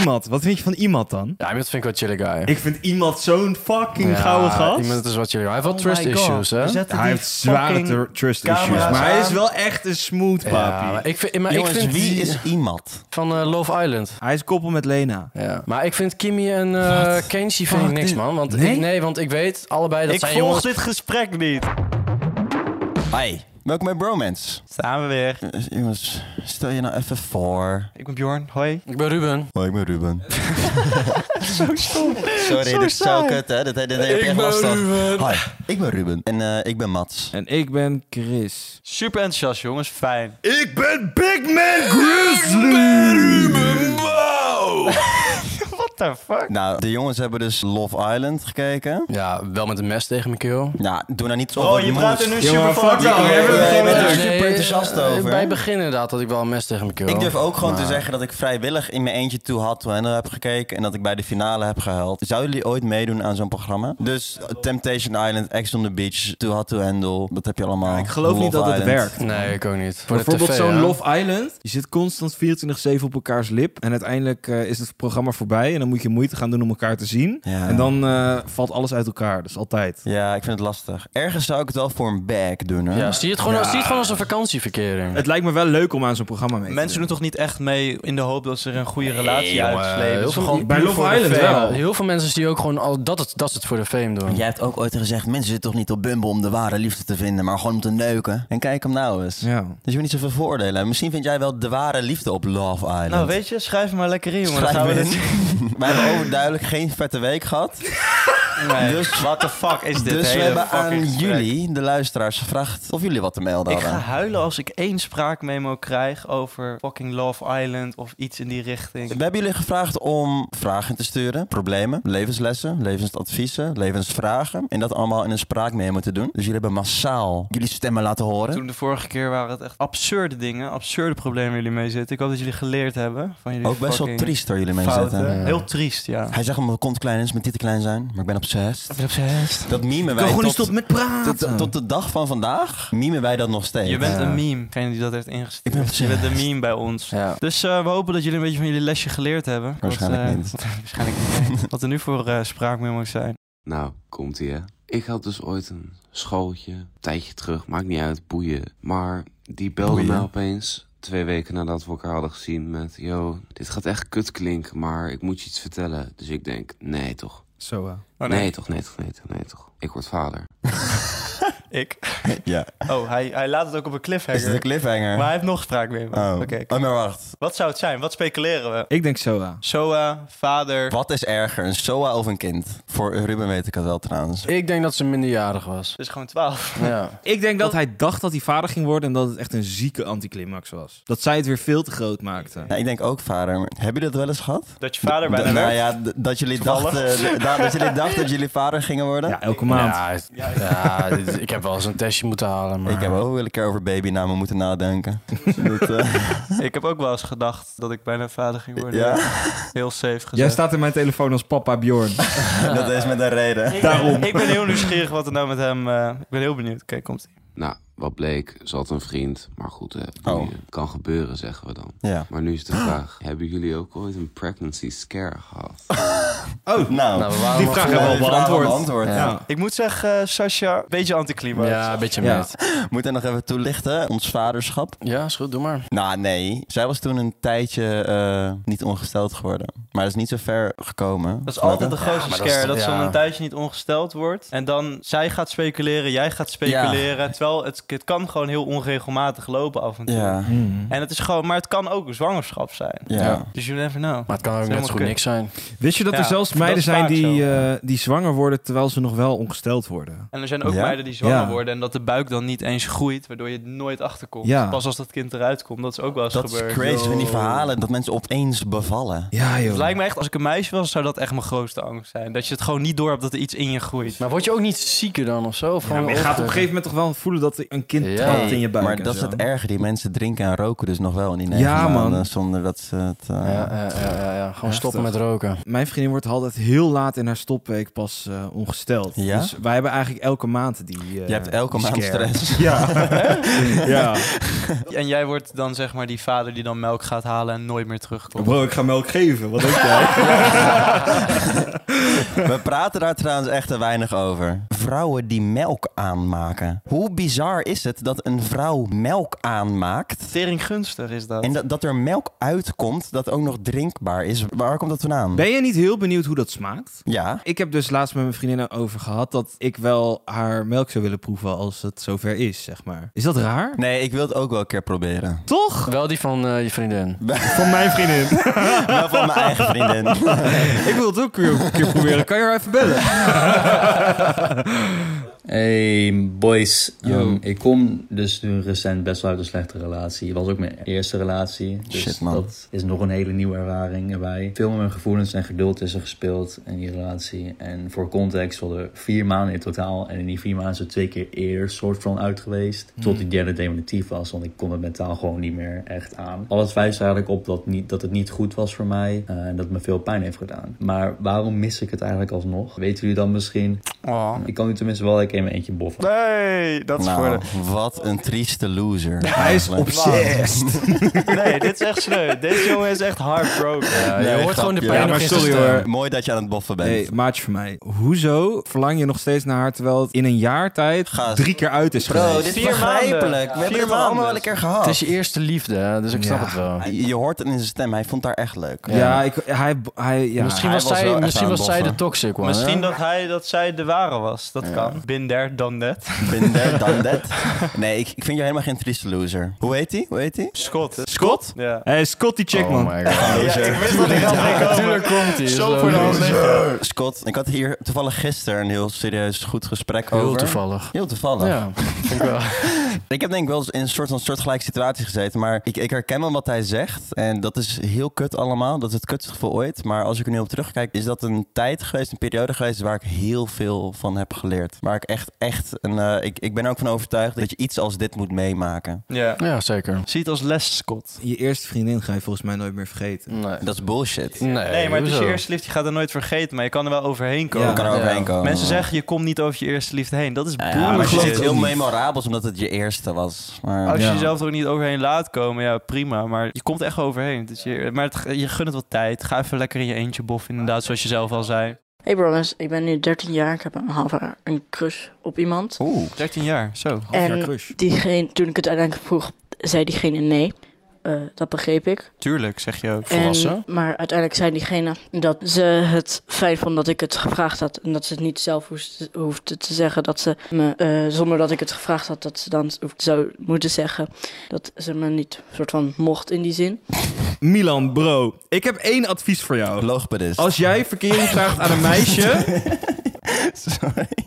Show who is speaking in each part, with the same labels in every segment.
Speaker 1: Iemand. Wat vind je van iemand dan?
Speaker 2: Ja, dat vind ik wel chillen guy.
Speaker 1: Ik vind iemand zo'n fucking
Speaker 2: Ja,
Speaker 1: gouden gast.
Speaker 2: Iemand is wat chillen guy. Hij heeft
Speaker 3: Oh
Speaker 2: wel
Speaker 3: my
Speaker 2: trust
Speaker 3: God.
Speaker 2: issues, hè?
Speaker 3: We zetten
Speaker 1: Hij
Speaker 3: die
Speaker 1: heeft zware
Speaker 3: fucking-
Speaker 1: tr- trust
Speaker 3: camera's
Speaker 1: issues. Maar hij
Speaker 3: aan.
Speaker 1: is wel echt een smooth
Speaker 2: Ja,
Speaker 1: papi.
Speaker 2: maar ik vind, maar ik
Speaker 4: Jongens,
Speaker 2: vind
Speaker 4: wie
Speaker 2: die-
Speaker 4: is iemand?
Speaker 2: van eh, Love Island.
Speaker 1: Hij is koppel met Lena.
Speaker 2: Ja. Maar ik vind Kimmy en eh Kenshi vind ik
Speaker 1: Fuck,
Speaker 2: niks,
Speaker 1: dit-
Speaker 2: man. Want
Speaker 1: Nee?
Speaker 2: Ik, nee, want ik weet allebei dat
Speaker 3: Ik
Speaker 2: zijn
Speaker 3: volg
Speaker 2: jongens...
Speaker 3: dit gesprek niet.
Speaker 4: Hi, welkom bij Bromance.
Speaker 3: Staan we weer.
Speaker 4: Eh, Jongens, stel je nou even voor.
Speaker 3: Ik ben Bjorn, hoi.
Speaker 2: Ik ben Ruben.
Speaker 4: Hoi, ik ben Ruben. zo stom. Sorry, dit is zo kut, hè? Dit, dit, dit heb je echt last van.
Speaker 2: Ruben.
Speaker 4: Hi, ik ben Ruben. En eh, ik ben Mats.
Speaker 1: En ik ben Chris.
Speaker 3: Super enthousiast jongens, fijn.
Speaker 1: Ik ben Big Man Grizzly.
Speaker 3: What the fuck?
Speaker 4: Nou, de jongens hebben dus Love Island gekeken.
Speaker 2: Ja, wel met een mes tegen mijn keel.
Speaker 4: Nou, doe nou niet zo.
Speaker 3: Oh, je praat er nu super
Speaker 1: Jongen,
Speaker 3: van.
Speaker 1: fuck jou. Jij bent
Speaker 4: Ja,
Speaker 1: gewoon
Speaker 4: ja,
Speaker 1: een
Speaker 4: ja.
Speaker 1: druk.
Speaker 4: super enthousiast
Speaker 2: eh,
Speaker 4: over,
Speaker 2: Bij
Speaker 4: hè?
Speaker 2: het begin inderdaad had ik wel een mes tegen mijn keel.
Speaker 4: Ik durf ook gewoon te
Speaker 2: Maar-
Speaker 4: zeggen dat ik vrijwillig in mijn eentje toe had toen hen heb gekeken en dat ik bij de finale heb gehuild. Zouden jullie ooit meedoen aan zo'n programma? Dus uh, Temptation Island, Ex on the Beach, Too Hot to Handle, dat heb je allemaal.
Speaker 1: Ik geloof
Speaker 4: Love
Speaker 1: niet dat het
Speaker 4: Island.
Speaker 1: werkt.
Speaker 2: Nee, ik ook niet. Voor de
Speaker 1: Bijvoorbeeld
Speaker 2: tv,
Speaker 1: zo'n
Speaker 2: hè?
Speaker 1: Love Island. Je zit constant 24-7 op elkaars lip. En uiteindelijk eh, is het programma voorbij. En dan moet je moeite gaan doen om elkaar te zien.
Speaker 4: Ja.
Speaker 1: En dan eh, valt alles uit elkaar. Dus altijd.
Speaker 4: Ja, ik vind het lastig. Ergens zou ik het wel voor een bag doen, hè?
Speaker 2: Ja, zie je het gewoon, zie je het gewoon als een vakantieverkering.
Speaker 1: Het lijkt me wel leuk om aan zo'n programma mee te
Speaker 3: Mensen doen toch niet echt mee in de hoop dat ze er een goede relatie
Speaker 2: jongen,
Speaker 3: uitslepen.
Speaker 2: heel
Speaker 3: Het is
Speaker 2: veel-
Speaker 3: gewoon
Speaker 1: Bij
Speaker 3: puur
Speaker 1: Love
Speaker 3: voor de
Speaker 1: Island
Speaker 3: fame.
Speaker 1: wel.
Speaker 2: Heel veel mensen die ook gewoon al dat het, dat het voor de fame doen.
Speaker 4: Jij hebt ook ooit gezegd, mensen zitten toch niet op Bumble om de ware liefde te vinden, maar gewoon om te neuken. En kijk hem nou eens.
Speaker 1: doen. Ja.
Speaker 4: Dus je moet niet zoveel voordelen. Misschien vind jij wel de ware liefde op Love Island.
Speaker 3: Nou weet je, schrijf hem maar lekker in. jongen. Dan
Speaker 4: Schrijf
Speaker 3: gaan we
Speaker 4: me
Speaker 3: dit...
Speaker 4: in. Wij hebben overduidelijk geen vette week gehad.
Speaker 3: Nee.
Speaker 4: Dus-
Speaker 3: what the fuck is dit
Speaker 4: Dus we
Speaker 3: hele
Speaker 4: hebben
Speaker 3: fucking
Speaker 4: aan
Speaker 3: gesprek?
Speaker 4: jullie, de luisteraars, gevraagd of jullie wat te melden
Speaker 3: Ik ga
Speaker 4: hadden.
Speaker 3: huilen als ik één spraakmemo krijg over fucking Love Island of iets in die richting.
Speaker 4: We hebben jullie gevraagd om vragen te sturen, problemen, levenslessen, levensadviezen, levensvragen. En dat allemaal in een spraakmemo te doen. Dus jullie hebben massaal jullie stemmen laten horen.
Speaker 3: Toen de vorige keer waren het echt absurde dingen, absurde problemen waar jullie mee zitten. Ik hoop dat jullie geleerd hebben van jullie
Speaker 4: Ook best wel
Speaker 3: fucking
Speaker 4: triest waar jullie mee
Speaker 3: fouten.
Speaker 4: zitten.
Speaker 2: Ja.
Speaker 3: Heel triest, ja.
Speaker 4: Hij zegt dat mijn kont klein is, mijn titel klein zijn, maar ik ben obsessed.
Speaker 3: Ik ben obsessed.
Speaker 4: Dat memen
Speaker 1: Ik kan
Speaker 4: wij
Speaker 1: gewoon niet
Speaker 4: tot,
Speaker 1: stoppen met
Speaker 4: tot,
Speaker 1: praten.
Speaker 4: tot de dag van vandaag, memen wij dat nog steeds.
Speaker 3: Je bent
Speaker 2: Ja.
Speaker 3: een meme, degene die dat heeft
Speaker 4: Ik ben
Speaker 3: ingestuurd. Je bent een meme bij ons.
Speaker 2: Ja.
Speaker 3: Dus eh, we hopen dat jullie een beetje van jullie lesje geleerd hebben.
Speaker 4: Waarschijnlijk
Speaker 3: wat, eh,
Speaker 4: niet.
Speaker 3: waarschijnlijk niet. Wat er nu voor eh spraakmemo's zijn.
Speaker 5: Nou, komt ie hè. Ik had dus ooit een schooltje, een tijdje terug, maakt niet uit, boeien. Maar die belde
Speaker 4: Boeien?
Speaker 5: me opeens, twee weken nadat we elkaar hadden gezien, met... Yo, dit gaat echt kut klinken, maar ik moet je iets vertellen. Dus ik denk, nee toch.
Speaker 1: Zo. eh.
Speaker 3: Oh
Speaker 5: nee. toch, nee toch, nee toch, nee toch. Ik word vader.
Speaker 3: Ik.
Speaker 4: Ja.
Speaker 3: Oh, hij, hij laat het ook op een
Speaker 4: Is
Speaker 3: cliffhanger.
Speaker 4: het een cliffhanger?
Speaker 3: Maar hij heeft nog spraakmemo's.
Speaker 4: Oh.
Speaker 3: Oké,
Speaker 4: oh, maar wacht.
Speaker 3: wat zou het zijn? Wat speculeren we?
Speaker 1: Ik denk zo. eh.
Speaker 3: Soa, vader.
Speaker 4: Wat is erger, een SOA of een kind? Voor Ruben weet ik het wel trouwens.
Speaker 2: Ik denk dat ze minderjarig was.
Speaker 3: Dus gewoon 12.
Speaker 2: Ja.
Speaker 1: Ik denk dat hij dacht dat hij vader ging worden en dat het echt een zieke anticlimax was. Dat zij het weer veel te groot maakte.
Speaker 4: Nou, ik denk ook vader. maar Hebben jullie dat wel eens gehad?
Speaker 3: Dat je vader
Speaker 4: D-
Speaker 3: bijna
Speaker 4: nou
Speaker 3: werd.
Speaker 4: ja, d- dat jullie,
Speaker 3: Toevallig.
Speaker 4: dachten, d- da- dat jullie dachten dat jullie vader gingen worden.
Speaker 1: Ja, elke maand.
Speaker 2: Ja, het- ja, dit- ik heb wel eens een testje moeten halen. Maar...
Speaker 4: Ik heb ook wel een keer over babynamen moeten nadenken. dat, eh,
Speaker 3: Ik heb ook wel eens gedacht dat ik bijna vader ging worden.
Speaker 4: ja,
Speaker 3: Heel safe gezegd.
Speaker 1: Jij staat in mijn telefoon als papa Bjorn.
Speaker 4: dat is met een reden.
Speaker 3: Ik-
Speaker 1: Daarom.
Speaker 3: Ik ben heel nieuwsgierig wat er nou met hem... eh, ik ben heel benieuwd. Oké, komt ie.
Speaker 5: Nou, wat bleek, ze had een vriend, maar goed, hè, boeien. kan gebeuren zeggen we dan.
Speaker 4: Ja.
Speaker 5: Maar nu is de vraag, hebben jullie ook ooit een pregnancy scare gehad?
Speaker 4: Oh, nou.
Speaker 2: Nou, we waren
Speaker 1: Die
Speaker 2: nog-
Speaker 1: vraag hebben we al
Speaker 4: die vraag
Speaker 1: beantwoord.
Speaker 4: beantwoord.
Speaker 1: Ja.
Speaker 3: Ik moet zeggen, eh, Sascha, beetje anticlimax.
Speaker 2: Ja, een beetje
Speaker 1: Ja.
Speaker 2: met.
Speaker 4: Moet hij nog even toelichten, ons vaderschap?
Speaker 2: Ja, is goed, doe maar.
Speaker 4: Nou, nee. Zij was toen een tijdje eh, niet ongesteld geworden. Maar dat is niet zo ver gekomen.
Speaker 3: Dat is
Speaker 4: Snap
Speaker 3: altijd
Speaker 4: je?
Speaker 3: de grootste
Speaker 2: maar dat
Speaker 3: scare.
Speaker 2: is
Speaker 3: Dat,
Speaker 2: toch-
Speaker 3: ze
Speaker 2: ja.
Speaker 3: dan een tijdje niet ongesteld wordt. En dan zij gaat speculeren, jij gaat speculeren. Terwijl het, het kan gewoon heel onregelmatig lopen af en toe.
Speaker 4: Ja,
Speaker 3: En het is gewoon, maar het kan ook een zwangerschap zijn.
Speaker 4: ja.
Speaker 2: Ja.
Speaker 3: Dus you never know.
Speaker 2: Maar het kan ook
Speaker 3: is
Speaker 2: net zo
Speaker 3: helemaal
Speaker 2: goed
Speaker 3: kut.
Speaker 2: niks zijn.
Speaker 1: Wist je dat
Speaker 3: Ja,
Speaker 1: er zelfs
Speaker 3: dat
Speaker 1: meiden
Speaker 3: is
Speaker 1: zijn
Speaker 3: vaak
Speaker 1: die,
Speaker 3: zo.
Speaker 1: eh, die zwanger worden terwijl ze nog wel ongesteld worden?
Speaker 3: En er zijn ook
Speaker 4: Ja?
Speaker 3: meiden die zwanger
Speaker 1: Ja.
Speaker 3: worden en dat de buik dan niet eens groeit, waardoor je het nooit achterkomt.
Speaker 1: Ja.
Speaker 3: Pas als dat kind eruit komt, dat is ook wel eens
Speaker 4: Dat
Speaker 3: gebeurd.
Speaker 4: is crazy van die verhalen dat mensen opeens bevallen.
Speaker 1: Ja, joh.
Speaker 3: Het lijkt me echt, als ik een meisje was, zou dat echt mijn grootste angst zijn. Dat je het gewoon niet door hebt dat er iets in je groeit.
Speaker 2: Maar word je ook niet zieker dan of zo? Of
Speaker 1: Ja,
Speaker 2: gewoon
Speaker 1: maar je gaat op een
Speaker 2: of-
Speaker 1: gegeven moment toch wel voelen dat er een kind
Speaker 2: Ja.
Speaker 1: trapt in je buik.
Speaker 4: maar
Speaker 1: en
Speaker 4: dat is
Speaker 1: zo.
Speaker 4: het erge. Die mensen drinken en roken dus nog wel in die negen
Speaker 1: Ja, man.
Speaker 4: maanden zonder dat ze het... eh,
Speaker 2: Ja, ja, ja, ja, ja. Gewoon
Speaker 1: Heftig.
Speaker 2: stoppen met roken.
Speaker 1: Mijn vriendin wordt had het heel laat in haar stopweek pas eh, ongesteld.
Speaker 4: Ja?
Speaker 1: Dus wij hebben eigenlijk elke maand die. eh,
Speaker 4: Je hebt elke
Speaker 1: die
Speaker 4: maand
Speaker 1: scare.
Speaker 4: stress.
Speaker 1: Ja. ja.
Speaker 3: En jij wordt dan zeg maar die vader die dan melk gaat halen en nooit meer terugkomt.
Speaker 1: Bro, ik ga melk geven. Wat denk jij?
Speaker 4: We praten daar trouwens echt te weinig over. Vrouwen die melk aanmaken. Hoe bizar is het dat een vrouw melk aanmaakt?
Speaker 3: Tering gunstig is dat.
Speaker 4: En dat, dat er melk uitkomt dat ook nog drinkbaar is. Waar komt dat vandaan?
Speaker 1: Ben je niet heel benieuwd hoe dat smaakt?
Speaker 4: Ja.
Speaker 1: Ik heb dus laatst met mijn vriendinnen over gehad dat ik wel haar melk zou willen proeven als het zover is, zeg maar. Is dat raar?
Speaker 4: Nee, ik wil het ook wel een keer proberen.
Speaker 1: Toch?
Speaker 2: Wel die van eh, je vriendin.
Speaker 1: Van mijn vriendin.
Speaker 4: Wel van mijn eigen vriendin.
Speaker 1: ik wil het ook weer een keer proberen. Kan je haar even bellen?
Speaker 6: Hey boys,
Speaker 1: Yo.
Speaker 6: Ehm, ik kom dus nu recent best wel uit een slechte relatie. Het was ook mijn eerste relatie, dus
Speaker 4: Shit, man.
Speaker 6: dat is nog een hele nieuwe ervaring erbij. Veel met mijn gevoelens en geduld is er gespeeld in die relatie. En voor context we hadden vier maanden in totaal en in die vier maanden is er twee keer eerder soort van uit geweest. Tot die derde definitief was, want ik kon het mentaal gewoon niet meer echt aan. Al het wijst eigenlijk op dat, niet, dat het niet goed was voor mij eh, en dat het me veel pijn heeft gedaan. Maar waarom mis ik het eigenlijk alsnog? Weten jullie dan misschien?
Speaker 3: Oh.
Speaker 6: Ik kan nu tenminste wel lekker in mijn eentje boffen.
Speaker 3: Nee, dat is voor
Speaker 4: Nou,
Speaker 3: de...
Speaker 4: wat een trieste loser.
Speaker 1: Hij is
Speaker 4: eigenlijk.
Speaker 1: obsessed.
Speaker 3: Nee, dit is echt sneu. Deze jongen is echt heartbroken.
Speaker 2: Ja, je
Speaker 4: Nee,
Speaker 2: hoort gewoon de
Speaker 4: grapje.
Speaker 2: pijn nog
Speaker 1: Ja, maar
Speaker 2: in zijn
Speaker 1: sorry,
Speaker 2: stem.
Speaker 1: hoor.
Speaker 4: Mooi dat je aan het boffen bent.
Speaker 1: Hey, maatje van mij. Hoezo verlang je nog steeds naar haar terwijl het in een jaar tijd
Speaker 4: Gast.
Speaker 1: drie keer uit is
Speaker 4: Bro,
Speaker 1: geweest?
Speaker 4: dit is
Speaker 3: Vier maanden.
Speaker 4: begrijpelijk. We
Speaker 3: Vier
Speaker 4: hebben het allemaal
Speaker 3: maanden.
Speaker 4: wel een keer gehad.
Speaker 2: Het is je eerste liefde, hè, dus ik snap
Speaker 1: Ja.
Speaker 2: het wel.
Speaker 4: Je je hoort het in zijn stem. Hij vond daar echt leuk.
Speaker 1: Ja, ik, hij, hij, ja.
Speaker 2: misschien
Speaker 4: hij
Speaker 2: was,
Speaker 4: was wel
Speaker 2: zij,
Speaker 4: echt
Speaker 2: misschien
Speaker 4: aan
Speaker 2: was
Speaker 4: het
Speaker 2: zij de
Speaker 4: boffen.
Speaker 2: toxic one.
Speaker 3: Misschien
Speaker 2: hè?
Speaker 3: dat, hij, dat zij de ware was. Dat kan. Binder dan net.
Speaker 4: Binder dan dat. Nee, ik, ik vind jou helemaal geen trieste loser. Hoe heet hij? Hoe heet hij?
Speaker 3: Scott.
Speaker 1: Scott?
Speaker 3: Ja.
Speaker 1: Hey, Scott die chick, man.
Speaker 2: Oh my god.
Speaker 3: Ja, ik wist dat ik had
Speaker 2: Natuurlijk komt hij.
Speaker 3: Zo voor de hand liggen.
Speaker 4: Scott. Ik had hier toevallig gisteren een heel serieus goed gesprek over.
Speaker 2: Heel toevallig.
Speaker 4: Heel toevallig.
Speaker 2: Ja, vind ik wel.
Speaker 4: Ik heb denk ik wel eens in een soort van soortgelijke situatie gezeten. Maar ik, ik herken wel wat hij zegt. En dat is heel kut allemaal. Dat is het kutste gevoel ooit. Maar als ik er nu op terugkijk, is dat een tijd geweest, een periode geweest waar ik heel veel van heb geleerd. Waar ik echt, echt een. eh, ik, ik ben er ook van overtuigd dat je iets als dit moet meemaken.
Speaker 3: Ja.
Speaker 2: Ja, zeker.
Speaker 3: Ziet als les, Scott.
Speaker 1: Je eerste vriendin ga je volgens mij nooit meer vergeten.
Speaker 2: Nee.
Speaker 4: Dat is bullshit.
Speaker 2: Nee,
Speaker 3: Nee, maar het is je
Speaker 2: hoezo?
Speaker 3: eerste liefde. Je gaat er nooit vergeten. Maar je kan er wel overheen
Speaker 4: Je
Speaker 3: komen.
Speaker 4: kan er overheen komen.
Speaker 3: Mensen zeggen, je komt niet over je eerste liefde heen. Dat is
Speaker 4: Ja,
Speaker 3: boel.
Speaker 4: maar het
Speaker 1: geloof
Speaker 4: is iets
Speaker 1: het
Speaker 4: heel
Speaker 1: niet.
Speaker 4: memorabels omdat het je eerste was. Maar,
Speaker 3: Als je
Speaker 1: Ja.
Speaker 3: jezelf er ook niet overheen laat komen, ja prima. Maar je komt echt wel overheen. Dus je, maar het- je gunt het wel tijd. Ga even lekker in je eentje boffen, inderdaad, zoals je zelf al zei.
Speaker 7: Hey brothers, ik ben nu 13 jaar. Ik heb een half jaar een crush op iemand.
Speaker 4: Oeh.
Speaker 3: 13 jaar, zo.
Speaker 1: Half jaar
Speaker 7: En-
Speaker 1: crush.
Speaker 7: Diegene, toen ik het uiteindelijk vroeg, zei diegene nee. Eh, dat begreep ik.
Speaker 3: Tuurlijk, zeg je ook.
Speaker 2: Volwassen?
Speaker 7: En, maar uiteindelijk zei diegene dat ze het fijn vond dat ik het gevraagd had. En dat ze het niet zelf hoest- hoefde te zeggen. Dat ze me, eh, zonder dat ik het gevraagd had, dat ze dan hoefde- zou moeten zeggen. Dat ze me niet soort van mocht in die zin.
Speaker 1: Milan, bro. Ik heb één advies voor jou.
Speaker 4: Logopedist.
Speaker 1: Als jij verkering vraagt aan een meisje...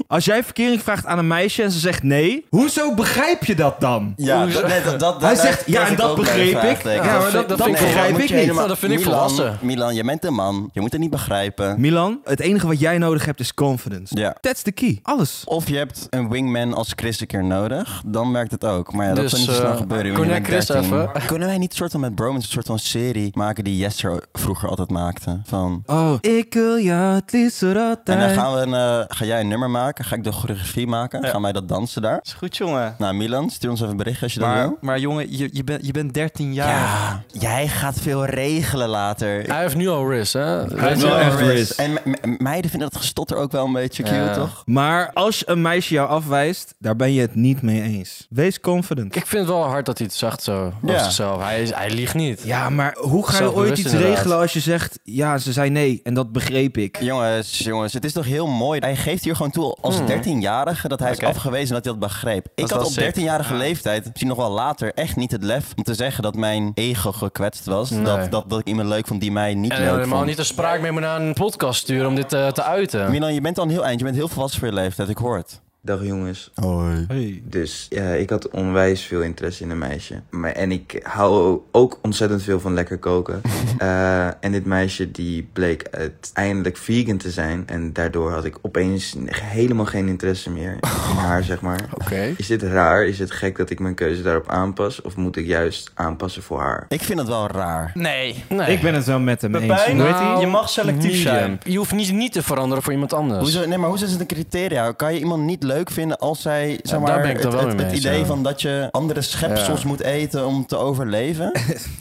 Speaker 1: Als jij verkering vraagt aan een meisje en ze zegt nee... Hoezo begrijp je dat dan?
Speaker 4: Ja, dat, nee, dat, dat,
Speaker 1: Hij
Speaker 4: daar
Speaker 1: zegt, ja,
Speaker 4: tref
Speaker 1: en dat
Speaker 4: ook bij een
Speaker 1: begreep ik.
Speaker 4: vraagteken.
Speaker 1: Ja, maar dat- dat
Speaker 4: vind
Speaker 1: vind ik-
Speaker 4: dat
Speaker 1: begrijp
Speaker 4: moet
Speaker 1: ik
Speaker 4: je
Speaker 1: niet.
Speaker 4: helemaal-
Speaker 2: Dat vind ik
Speaker 4: Milan,
Speaker 2: volwassen.
Speaker 4: Milan, je bent een man. Je moet het niet begrijpen.
Speaker 1: Milan, het enige wat jij nodig hebt is confidence.
Speaker 4: Ja.
Speaker 1: That's the key. Alles.
Speaker 4: Of je hebt een wingman als Chris een keer nodig, dan werkt het ook. Maar ja, dat
Speaker 2: Dus,
Speaker 4: zou niet zo snel
Speaker 2: eh,
Speaker 4: gebeuren.
Speaker 2: connect
Speaker 4: want je bent
Speaker 2: Chris
Speaker 4: 13. Kunnen wij niet soort van met Bromance een soort van serie maken die Jester vroeger altijd maakte? Van...
Speaker 1: Oh. Ik wil jou het liefst voor altijd.
Speaker 4: En dan gaan we een, eh, ga jij een nummer maken, ga ik de choreografie maken, gaan wij dat dansen daar.
Speaker 3: Is goed, jongen.
Speaker 4: Nou Milan, stuur ons even een bericht als je dat
Speaker 3: Maar,
Speaker 4: wil.
Speaker 3: maar jongen, je, je, bent je bent 13 jaar.
Speaker 4: Ja, jij gaat veel regelen later.
Speaker 2: Hij heeft nu al RIS, hè?
Speaker 1: Hij heeft wel
Speaker 4: Ja,
Speaker 1: echt
Speaker 4: Chris.
Speaker 1: Chris.
Speaker 4: En me- me- meiden vinden dat gestotter ook wel een beetje cute,
Speaker 2: Ja.
Speaker 4: toch?
Speaker 1: Maar als een meisje jou afwijst, daar ben je het niet mee eens. Wees confident.
Speaker 2: Ik vind het wel hard dat hij het zegt zo over
Speaker 4: Ja.
Speaker 2: zichzelf. Hij, is, hij liegt niet.
Speaker 1: Ja, maar hoe ga je
Speaker 2: Zelfbewust
Speaker 1: ooit iets
Speaker 2: inderdaad.
Speaker 1: regelen als je zegt... Ja, ze zei nee en dat begreep ik.
Speaker 4: Jongens, jongens, het is toch heel mooi. Hij geeft hier gewoon toe
Speaker 2: Hmm.
Speaker 4: als 13-jarige dat hij
Speaker 3: Oké.
Speaker 4: is afgewezen en dat hij dat begreep. Ik
Speaker 3: is
Speaker 4: had
Speaker 3: wel
Speaker 4: op
Speaker 3: sick.
Speaker 4: 13-jarige leeftijd, misschien nog wel later, echt niet het lef om te zeggen dat mijn ego gekwetst was.
Speaker 2: Nee.
Speaker 4: Dat, dat, dat ik iemand leuk vond die mij niet
Speaker 2: En
Speaker 4: leuk
Speaker 2: helemaal
Speaker 4: vond.
Speaker 2: niet een spraak mee naar een podcast sturen om dit eh, te uiten.
Speaker 4: Milan, je bent al een heel eind. Je bent heel volwassen voor je leeftijd, ik hoor het.
Speaker 8: Dag jongens.
Speaker 4: Hoi.
Speaker 1: Hey.
Speaker 8: Dus ja, ik had onwijs veel interesse in een meisje. Maar, en ik hou ook ontzettend veel van lekker koken. Eh, en dit meisje die bleek uiteindelijk vegan te zijn. En daardoor had ik opeens helemaal geen interesse meer in haar, zeg maar.
Speaker 2: Oké.
Speaker 8: Is dit raar? Is het gek dat ik mijn keuze daarop aanpas? Of moet ik juist aanpassen voor haar?
Speaker 4: Ik vind dat wel raar.
Speaker 3: Nee.
Speaker 2: Nee.
Speaker 1: Ik ben het wel met hem
Speaker 3: Pepijn,
Speaker 1: eens.
Speaker 2: Nou,
Speaker 3: je mag selectief
Speaker 2: medium.
Speaker 3: zijn.
Speaker 2: Je hoeft niet, niet te veranderen voor iemand anders.
Speaker 4: Hoezo, nee, maar hoe is het een criteria? Kan je iemand niet leuk vinden als zij zeg
Speaker 2: daar
Speaker 4: maar,
Speaker 2: ben ik dan
Speaker 4: het,
Speaker 2: wel
Speaker 4: het-
Speaker 2: mee
Speaker 4: het
Speaker 2: eens,
Speaker 4: idee
Speaker 2: ja.
Speaker 4: van dat je andere schepsels moet eten om te overleven?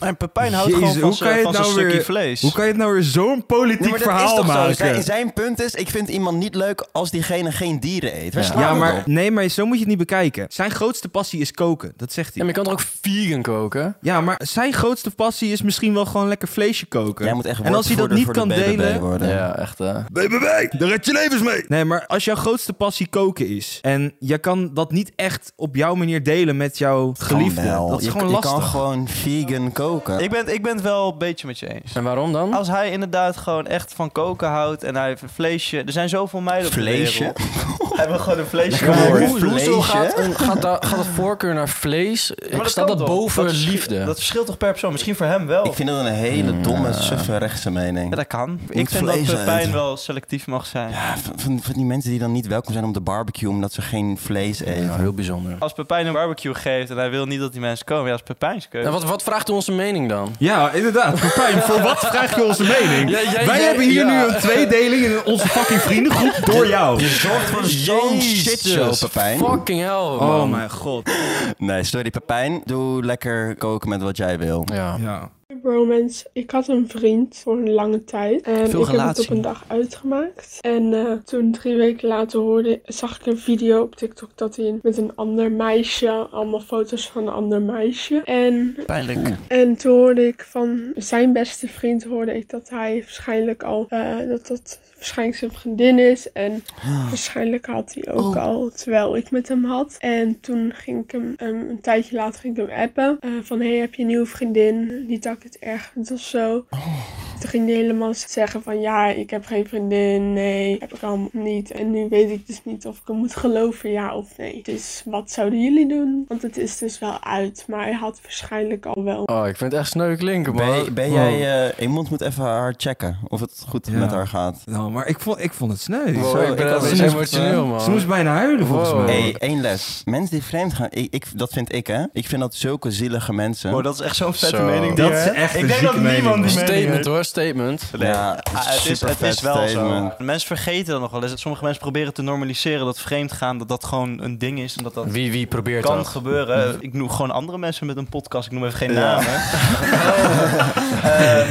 Speaker 3: En Pepijn houdt
Speaker 1: Jezus,
Speaker 3: gewoon van
Speaker 1: hoe kan je
Speaker 3: zijn
Speaker 1: het
Speaker 3: nou
Speaker 1: nou
Speaker 3: stukje
Speaker 1: weer-
Speaker 3: vlees.
Speaker 1: Hoe kan je het nou weer zo'n politiek
Speaker 4: Nee, maar dat is
Speaker 1: verhaal
Speaker 4: toch zo?
Speaker 1: maken?
Speaker 4: Zijn, zijn punt is, ik vind iemand niet leuk als diegene geen dieren eet. Waar
Speaker 2: Ja.
Speaker 4: slaat
Speaker 1: Ja,
Speaker 4: het
Speaker 1: maar
Speaker 4: op?
Speaker 1: nee, maar zo moet je het niet bekijken. Zijn grootste passie is koken, dat zegt
Speaker 2: Ja,
Speaker 1: hij.
Speaker 2: maar je kan er ook vegan koken?
Speaker 1: Ja, maar zijn grootste passie is misschien wel gewoon lekker vleesje koken.
Speaker 4: Jij moet echt
Speaker 1: en als hij dat
Speaker 4: woordvoerder
Speaker 1: niet
Speaker 4: voor de
Speaker 1: kan
Speaker 4: BBB
Speaker 1: delen,
Speaker 4: worden.
Speaker 2: Ja, echt. eh.
Speaker 1: BBB, daar red je levens mee. Nee, maar als jouw grootste passie koken is en je kan dat niet echt op jouw manier delen met jouw geliefde,
Speaker 4: Kan wel.
Speaker 1: dat is
Speaker 4: je,
Speaker 1: gewoon
Speaker 4: je
Speaker 1: lastig.
Speaker 4: kan gewoon vegan koken.
Speaker 3: Ik ben, ik ben het wel een beetje met je eens.
Speaker 2: En waarom dan?
Speaker 3: Als hij inderdaad gewoon echt van koken houdt en hij vleesje... Er zijn zoveel meiden op de
Speaker 4: Vleesje?
Speaker 3: wereld. Hij wil gewoon een vleesje
Speaker 4: Lekker
Speaker 3: worden.
Speaker 4: woord.
Speaker 2: Hoe- Hoezo
Speaker 4: Vleesje?
Speaker 2: gaat, een, gaat, daar- gaat het voorkeur naar vlees?
Speaker 3: Maar
Speaker 2: Ik sta
Speaker 3: kan
Speaker 2: dat
Speaker 3: toch?
Speaker 2: boven
Speaker 3: Dat is-
Speaker 2: liefde.
Speaker 3: Dat verschilt toch per persoon? Misschien voor hem wel.
Speaker 4: Ik vind dat een hele domme, suffe rechtse mening.
Speaker 3: Ja, dat kan. Ik vind dat
Speaker 4: vlees
Speaker 3: Pepijn
Speaker 4: eten.
Speaker 3: wel selectief mag zijn.
Speaker 4: Ja, van, van, van die mensen die dan niet welkom zijn om de barbecue omdat ze geen vlees eten.
Speaker 2: Ja, heel bijzonder.
Speaker 3: Als Pepijn een barbecue geeft en hij wil niet dat die mensen komen, ja, dat is Pepijn's keuze.
Speaker 2: En wat, wat vraagt u onze mening dan?
Speaker 1: Ja, inderdaad. Pepijn, voor wat vraag je onze mening?
Speaker 2: Ja, jij-
Speaker 1: Wij
Speaker 2: jij-
Speaker 1: hebben hier
Speaker 2: ja.
Speaker 1: nu een tweedeling in onze fucking vriendengroep door jou.
Speaker 4: Je zorgt voor zo'n
Speaker 2: Jezus,
Speaker 4: shitshow, Pepijn.
Speaker 2: Fucking hell, man.
Speaker 1: Oh mijn god.
Speaker 4: Nee, sorry Pepijn. Doe lekker koken met wat jij wil.
Speaker 2: Ja.
Speaker 1: Ja.
Speaker 9: Romance. Ik had een vriend voor een lange tijd. En
Speaker 3: Veel
Speaker 9: ik heb het
Speaker 3: relatie.
Speaker 9: op een dag uitgemaakt. En eh, toen drie weken later hoorde, zag ik een video op TikTok dat hij met een ander meisje, allemaal foto's van een ander meisje. En
Speaker 3: Pijnlijk.
Speaker 9: en toen hoorde ik van zijn beste vriend hoorde ik dat hij waarschijnlijk al eh, dat dat waarschijnlijk zijn vriendin is en waarschijnlijk had hij ook al terwijl ik met hem had en toen ging ik hem hem een tijdje later ging ik hem appen eh, van hey heb je een nieuwe vriendin niet dat ik het erg vind of zo toen ging hij helemaal zeggen van ja ik heb geen vriendin nee heb ik allemaal niet en nu weet ik dus niet of ik hem moet geloven ja of nee dus wat zouden jullie doen want het is dus wel uit maar hij had waarschijnlijk al wel
Speaker 2: Oh, ik vind het echt sneu klinken, man.
Speaker 4: Ben, ben jij... eh, iemand moet even haar checken of het goed
Speaker 1: Ja.
Speaker 4: met haar gaat.
Speaker 1: Nou, maar ik vond, ik vond het sneu.
Speaker 2: Wow,
Speaker 4: Zo,
Speaker 2: ik ben
Speaker 4: ik had
Speaker 2: echt
Speaker 4: het
Speaker 2: emotioneel, man.
Speaker 1: Ze moest bijna huilen volgens
Speaker 2: Wow.
Speaker 1: mij.
Speaker 4: hey, één les. Mensen die vreemd gaan, ik, ik, dat vind ik hè. Ik vind dat zulke zielige mensen.
Speaker 3: Oh, dat is echt zo'n vette
Speaker 2: Zo.
Speaker 3: mening. die
Speaker 1: eh, Dat
Speaker 3: er-
Speaker 1: is echt
Speaker 3: Ik
Speaker 1: een
Speaker 3: denk dat
Speaker 1: zieke mening,
Speaker 3: niemand die
Speaker 1: man.
Speaker 3: mening
Speaker 2: Statement
Speaker 3: heeft.
Speaker 2: hoor, statement.
Speaker 4: Ja,
Speaker 3: Ah, het is, het is
Speaker 4: supervet
Speaker 3: wel
Speaker 4: statement.
Speaker 3: zo. De Mensen vergeten dan nog wel eens. dat Sommige mensen proberen te normaliseren dat vreemdgaan dat dat gewoon een ding is. En dat dat
Speaker 2: Wie, wie probeert
Speaker 3: kan
Speaker 2: dat?
Speaker 3: gebeuren. Ik noem gewoon andere mensen met een podcast. Ik noem even geen
Speaker 4: Mm. Ja.
Speaker 3: namen. Eh,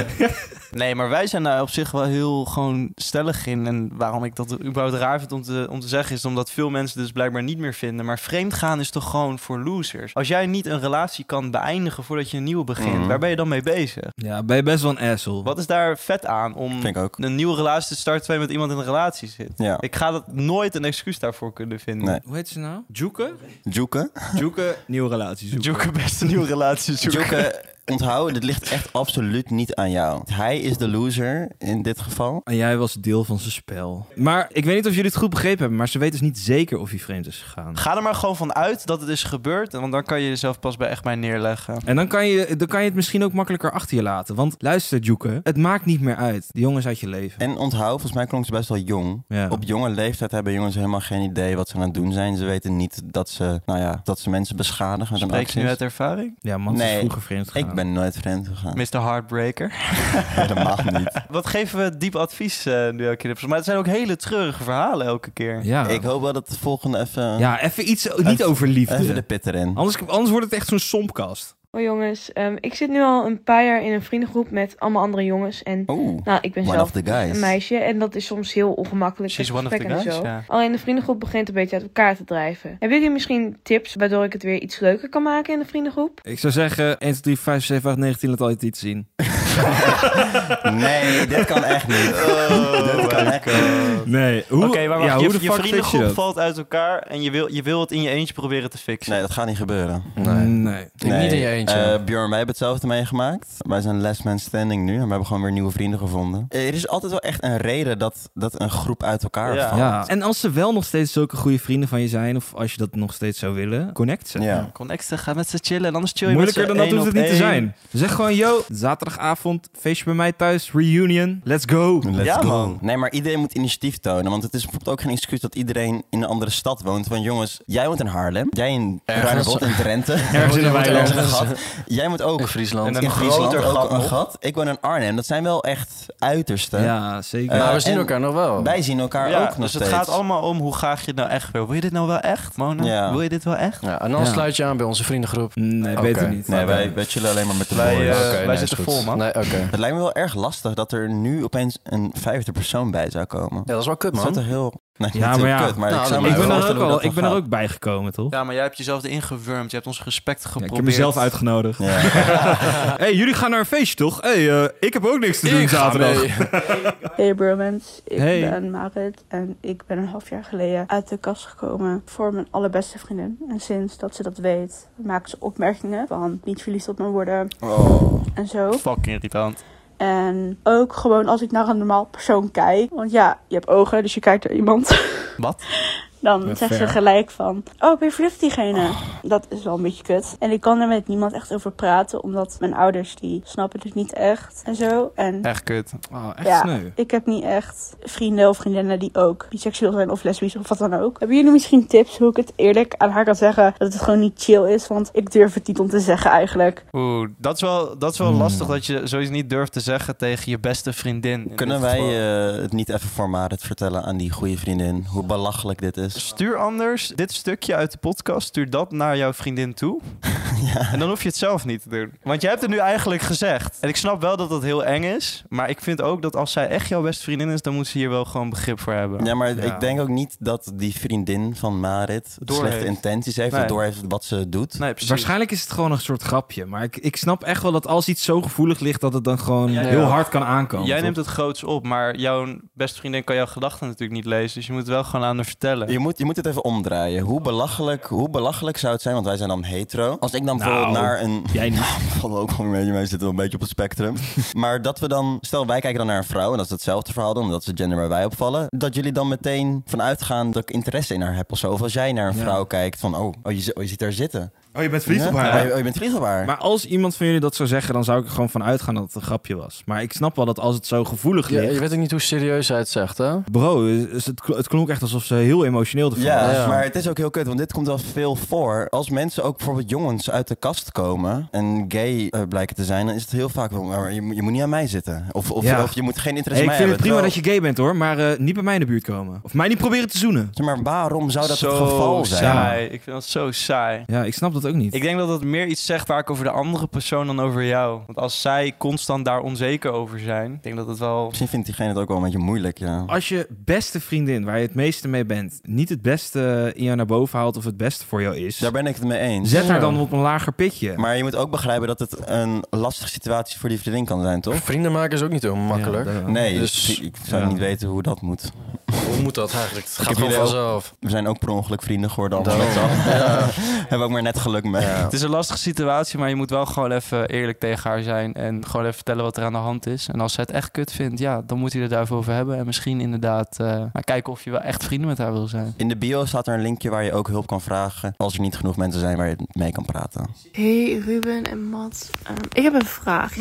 Speaker 3: nee, maar wij zijn daar op zich wel heel gewoon stellig in. En waarom ik dat überhaupt raar vind om te, om te zeggen... is omdat veel mensen dus blijkbaar niet meer vinden. Maar vreemdgaan is toch gewoon voor losers. Als jij niet een relatie kan beëindigen voordat je een nieuwe begint...
Speaker 4: Mhm.
Speaker 3: waar ben je dan mee bezig?
Speaker 1: Ja, ben je best wel een asshole.
Speaker 3: Wat is daar vet aan om
Speaker 4: Vind ik ook.
Speaker 3: een nieuwe relatie te starten... terwijl je met iemand in een relatie zit?
Speaker 4: Ja.
Speaker 3: Mm. Ik ga dat nooit een excuus daarvoor kunnen vinden.
Speaker 4: Nee.
Speaker 1: Hoe heet ze nou? Joeken?
Speaker 4: Joeken.
Speaker 1: Joeken, nieuwe relatie zoeken.
Speaker 3: Zoek een best een nieuwe relatie zoeken.
Speaker 4: Joeken, onthouden, dit ligt echt absoluut niet aan jou. Hij is de loser in dit geval.
Speaker 1: En jij was deel van zijn spel. Maar ik weet niet of jullie het goed begrepen hebben, maar ze weten dus niet zeker of hij vreemd is gegaan.
Speaker 3: Ga er maar gewoon van uit dat het is gebeurd. Want dan kan je jezelf pas bij echt bij neerleggen.
Speaker 1: En dan kan, je, dan kan je het misschien ook makkelijker achter je laten. Want luister, Joeken, het maakt niet meer uit. De jongens uit je leven.
Speaker 4: En onthoud, volgens mij klonk ze best wel jong.
Speaker 1: Ja.
Speaker 4: Op jonge leeftijd hebben jongens helemaal geen idee wat ze aan het doen zijn. Ze weten niet dat ze, nou ja, dat ze mensen beschadigen met hun
Speaker 3: Spreek je nu uit
Speaker 4: acties.
Speaker 3: ervaring?
Speaker 1: Ja, man, is
Speaker 4: Nee,
Speaker 1: vroeger vreemd gegaan.
Speaker 4: Ik ben nooit vreemd gegaan.
Speaker 3: Mr. Heartbreaker.
Speaker 4: Helemaal niet.
Speaker 3: Wat geven we diep advies eh, nu elke keer? Maar het zijn ook hele treurige verhalen elke keer.
Speaker 1: Ja,
Speaker 4: Ik hoop wel dat de volgende even,
Speaker 1: ja even iets niet
Speaker 4: Even-
Speaker 1: over
Speaker 4: even de
Speaker 1: liefde.
Speaker 4: pit
Speaker 3: Oh.
Speaker 4: erin.
Speaker 1: Anders, anders wordt het echt zo'n sompkast.
Speaker 10: Hoi jongens, Ehm, ik zit nu al een paar jaar in een vriendengroep met allemaal andere jongens. En
Speaker 4: Oeh,
Speaker 10: nou, ik ben
Speaker 4: one
Speaker 10: zelf
Speaker 4: of the
Speaker 10: een
Speaker 4: guys.
Speaker 10: meisje en dat is soms heel ongemakkelijk.
Speaker 3: She's
Speaker 10: het
Speaker 3: one of the
Speaker 10: gesprek en
Speaker 3: guys,
Speaker 10: zo.
Speaker 3: ja.
Speaker 10: Alleen de vriendengroep begint een beetje uit elkaar te drijven. Hebben jullie misschien tips waardoor ik het weer iets leuker kan maken in de vriendengroep?
Speaker 1: Ik zou zeggen, 1, 2, 3, 5, 7, 8, 19, laat altijd iets zien.
Speaker 4: Nee, dit kan echt niet.
Speaker 3: Oh,
Speaker 4: dit kan echt niet.
Speaker 1: Nee, hoe,
Speaker 3: Oké, maar wacht.
Speaker 1: ja,
Speaker 3: je,
Speaker 1: hoe de
Speaker 3: je
Speaker 1: fuck fix je
Speaker 3: vriendengroep
Speaker 1: dat?
Speaker 3: valt uit elkaar en je wil, je wil het in je eentje proberen te fixen.
Speaker 4: Nee, dat gaat niet gebeuren.
Speaker 2: Nee.
Speaker 1: nee.
Speaker 2: Ik
Speaker 4: Nee.
Speaker 2: niet in je niet zo.
Speaker 4: Eh, Björn, wij hebben hetzelfde meegemaakt. Wij zijn last man standing nu en we hebben gewoon weer nieuwe vrienden gevonden. Eh, Er is altijd wel echt een reden dat, dat een groep uit elkaar
Speaker 3: Ja.
Speaker 4: valt.
Speaker 1: Ja. Oh. En als ze wel nog steeds zulke goede vrienden van je zijn, of als je dat nog steeds zou willen, connect ze.
Speaker 4: Ja.
Speaker 3: Connecten, ga met ze chillen, anders chill je met
Speaker 1: Moeilijker
Speaker 3: ze
Speaker 1: dan dat
Speaker 3: één
Speaker 1: hoeft het
Speaker 3: op
Speaker 1: niet te
Speaker 3: één.
Speaker 1: zijn. Zeg gewoon, yo, zaterdagavond, feestje bij mij thuis, reunion, let's go.
Speaker 4: Let's
Speaker 3: Ja,
Speaker 4: go.
Speaker 3: man.
Speaker 4: Nee, maar iedereen moet initiatief tonen. Want het is bijvoorbeeld ook geen excuus dat iedereen in een andere stad woont. Want jongens, jij woont in Haarlem. Jij in
Speaker 2: Ergens.
Speaker 4: Ruinerwold, in Drenthe.
Speaker 1: Ergens in een
Speaker 4: Ergens een
Speaker 1: weiland.
Speaker 4: gat. Jij moet ook
Speaker 2: In Friesland.
Speaker 3: En
Speaker 4: in
Speaker 3: een
Speaker 4: Friesland
Speaker 3: groter
Speaker 4: ook
Speaker 3: gat
Speaker 4: een
Speaker 3: nog.
Speaker 4: gat. Ik woon in Arnhem. Dat zijn wel echt uitersten.
Speaker 1: Ja, zeker.
Speaker 4: Eh,
Speaker 2: maar we zien
Speaker 4: en
Speaker 2: elkaar nog wel.
Speaker 4: Wij zien elkaar
Speaker 3: Ja,
Speaker 4: ook nog
Speaker 3: dus
Speaker 4: steeds.
Speaker 3: het gaat allemaal om hoe graag je het nou echt wil. Wil je dit nou wel echt, Mona?
Speaker 4: Ja.
Speaker 3: Wil je dit wel echt?
Speaker 2: Ja, en dan
Speaker 1: Ja.
Speaker 2: sluit je aan bij onze vriendengroep.
Speaker 1: Eh, nee,
Speaker 2: Oké.
Speaker 1: beter niet.
Speaker 4: Nee, wij, wij chillen alleen maar met de
Speaker 3: Wij,
Speaker 4: boys.
Speaker 3: eh,
Speaker 2: Oké,
Speaker 3: wij
Speaker 2: nee,
Speaker 3: zitten
Speaker 2: is goed.
Speaker 3: vol, man.
Speaker 2: Nee, oké.
Speaker 4: Het lijkt me wel erg lastig dat er nu opeens een vijfde persoon bij zou komen.
Speaker 2: Ja, dat is wel kut,
Speaker 4: Dat zou
Speaker 2: man.
Speaker 4: toch heel... Nee,
Speaker 1: Ja,
Speaker 4: dat is
Speaker 1: maar
Speaker 4: heel
Speaker 1: ja.
Speaker 4: Kut, maar
Speaker 2: Nou,
Speaker 4: ik, zou
Speaker 2: dat-
Speaker 4: me
Speaker 1: Ik ben er
Speaker 4: voorstellen
Speaker 1: ook,
Speaker 4: hoe
Speaker 1: al,
Speaker 4: dat
Speaker 1: ik ben er
Speaker 4: gaat.
Speaker 1: ook bij gekomen, toch?
Speaker 3: Ja, maar jij hebt jezelf erin gewurmd. Je hebt ons respect
Speaker 1: Ja,
Speaker 3: geprobeerd.
Speaker 1: ik heb mezelf uitgenodigd.
Speaker 4: Ja.
Speaker 1: hey, jullie gaan naar een feestje, toch? hey, eh, ik heb ook niks te doen
Speaker 2: Ik ga
Speaker 1: zaterdag.
Speaker 2: mee.
Speaker 11: Hey Bromance, ik
Speaker 1: Hey.
Speaker 11: ben Marit en ik ben een half jaar geleden uit de kast gekomen voor mijn allerbeste vriendin. En sinds dat ze dat weet, maakt ze opmerkingen van niet verliefd op mijn woorden
Speaker 4: Oh.
Speaker 11: en zo.
Speaker 3: Fucking irritant.
Speaker 11: En ook gewoon als ik naar een normaal persoon kijk, want ja, je hebt ogen, dus je kijkt naar iemand.
Speaker 3: Wat?
Speaker 11: Dan
Speaker 1: Ja,
Speaker 11: zegt ze
Speaker 1: fair.
Speaker 11: gelijk van, oh ben je verliefd op diegene? Dat is wel een beetje kut. En ik kan er met niemand echt over praten, omdat mijn ouders die snappen het niet echt en zo. En
Speaker 3: Echt kut.
Speaker 1: Oh, echt
Speaker 11: Ja.
Speaker 1: sneu.
Speaker 11: ik heb niet echt vrienden of vriendinnen die ook biseksueel zijn of lesbisch of wat dan ook. Hebben jullie misschien tips hoe ik het eerlijk aan haar kan zeggen dat het gewoon niet chill is? Want ik durf het niet om te zeggen eigenlijk.
Speaker 3: Oeh, dat is wel, dat is
Speaker 1: Hmm.
Speaker 3: wel lastig dat je zoiets niet durft te zeggen tegen je beste vriendin. in
Speaker 4: Kunnen
Speaker 3: dit
Speaker 4: wij
Speaker 3: geval.
Speaker 4: eh, het niet even voor Marit vertellen aan die goede vriendin? Hoe belachelijk dit is.
Speaker 3: Stuur anders dit stukje uit de podcast, stuur dat naar jouw vriendin toe. En dan hoef je het zelf niet te doen. Want jij hebt het nu eigenlijk gezegd. En ik snap wel dat dat heel eng is. Maar ik vind ook dat als zij echt jouw beste vriendin is, dan moet ze hier wel gewoon begrip voor hebben.
Speaker 4: Ja, maar
Speaker 1: Ja.
Speaker 4: ik denk ook niet dat die vriendin van Marit
Speaker 3: Door
Speaker 4: slechte
Speaker 3: heeft.
Speaker 4: intenties heeft.
Speaker 3: Nee.
Speaker 4: Of door heeft wat ze doet.
Speaker 3: Nee, precies.
Speaker 1: Waarschijnlijk is het gewoon een soort grapje. Maar ik, ik snap echt wel dat als iets zo gevoelig ligt, dat het dan gewoon
Speaker 3: Ja, ja.
Speaker 1: heel hard kan aankomen.
Speaker 3: Jij
Speaker 1: toch?
Speaker 3: neemt het groots op, maar jouw beste vriendin kan jouw gedachten natuurlijk niet lezen. Dus je moet het wel gewoon aan haar vertellen.
Speaker 4: Je moet, je moet het even omdraaien. Hoe belachelijk, hoe belachelijk zou het zijn, want wij zijn dan hetero. Als ik dan
Speaker 1: Nou,
Speaker 4: bijvoorbeeld naar een...
Speaker 1: Jij niet.
Speaker 4: Valt ook wel een beetje mee, zitten wel een beetje op het spectrum. maar dat we dan... Stel, wij kijken dan naar een vrouw en dat is hetzelfde verhaal dan, omdat ze gender waar wij opvallen. Dat jullie dan meteen vanuit gaan dat ik interesse in haar heb of zo. Of als jij naar een
Speaker 1: Ja.
Speaker 4: vrouw kijkt van, oh, oh, je, zi- oh, je ziet haar zitten.
Speaker 1: Oh, je bent
Speaker 4: Ja? Oh, je- oh, je bent verliefd op haar.
Speaker 1: Maar als iemand van jullie dat zou zeggen, dan zou ik er gewoon van uitgaan dat het een grapje was. Maar ik snap wel dat als het zo gevoelig
Speaker 2: Ja,
Speaker 1: ligt...
Speaker 2: je weet ook niet hoe serieus hij het zegt, hè?
Speaker 1: Bro, is het, het klonk echt alsof ze heel emotioneel ervan
Speaker 4: Ja,
Speaker 1: was.
Speaker 2: Ja.
Speaker 4: maar het is ook heel kut, want dit komt wel veel voor. Als mensen ook bijvoorbeeld jongens uit de kast komen en gay eh, blijken te zijn, dan is het heel vaak wel, maar je, moet- je moet niet aan mij zitten. Of, of,
Speaker 1: Ja.
Speaker 4: of je moet geen
Speaker 1: Hey,
Speaker 4: interesse
Speaker 1: ik
Speaker 4: in
Speaker 1: vind het
Speaker 4: mij hebben.
Speaker 1: prima dat
Speaker 4: Terwijl-
Speaker 1: je gay bent hoor, maar eh, niet bij mij in de buurt komen. Of mij niet proberen te zoenen.
Speaker 4: Zeg Maar waarom zou dat
Speaker 3: zo
Speaker 4: het geval zijn?
Speaker 3: saai. Ik vind dat zo saai.
Speaker 1: Ja, ik snap dat ook niet.
Speaker 3: Ik denk dat dat meer iets zegt vaak over de andere persoon dan over jou. Want als zij constant daar onzeker over zijn, ik denk dat het wel...
Speaker 4: Misschien vindt diegene het ook wel een beetje moeilijk, ja.
Speaker 1: Als je beste vriendin, waar je het meeste mee bent, niet het beste in jou naar boven haalt of het beste voor jou is,
Speaker 4: Daar ben ik het mee eens.
Speaker 1: zet haar
Speaker 2: Ja.
Speaker 1: dan op een lager pitje.
Speaker 4: Maar je moet ook begrijpen dat het een lastige situatie voor die vriendin kan zijn, toch?
Speaker 2: Vrienden maken is ook niet heel makkelijk.
Speaker 1: Ja, dat-
Speaker 4: Nee,
Speaker 2: Dus-
Speaker 4: dus ik zou
Speaker 1: ja.
Speaker 4: niet weten hoe dat moet.
Speaker 2: Hoe moet dat eigenlijk? Het gaat
Speaker 4: heb
Speaker 2: gewoon
Speaker 4: jullie ook-
Speaker 2: vanzelf.
Speaker 4: We zijn ook per ongeluk vrienden geworden allemaal. met z'n allen. Hebben we ook maar net geluk mee.
Speaker 3: Het is een lastige situatie, maar je moet wel gewoon even eerlijk tegen haar zijn. En gewoon even vertellen wat er aan de hand is. En als ze het echt kut vindt, ja, dan moet hij er daarvoor over hebben. En misschien inderdaad eh, maar kijken of je wel echt vrienden met haar wil zijn.
Speaker 4: In de bio staat er een linkje waar je ook hulp kan vragen. Als er niet genoeg mensen zijn waar je mee kan praten.
Speaker 10: Hey Ruben en Mats, ik heb een vraag.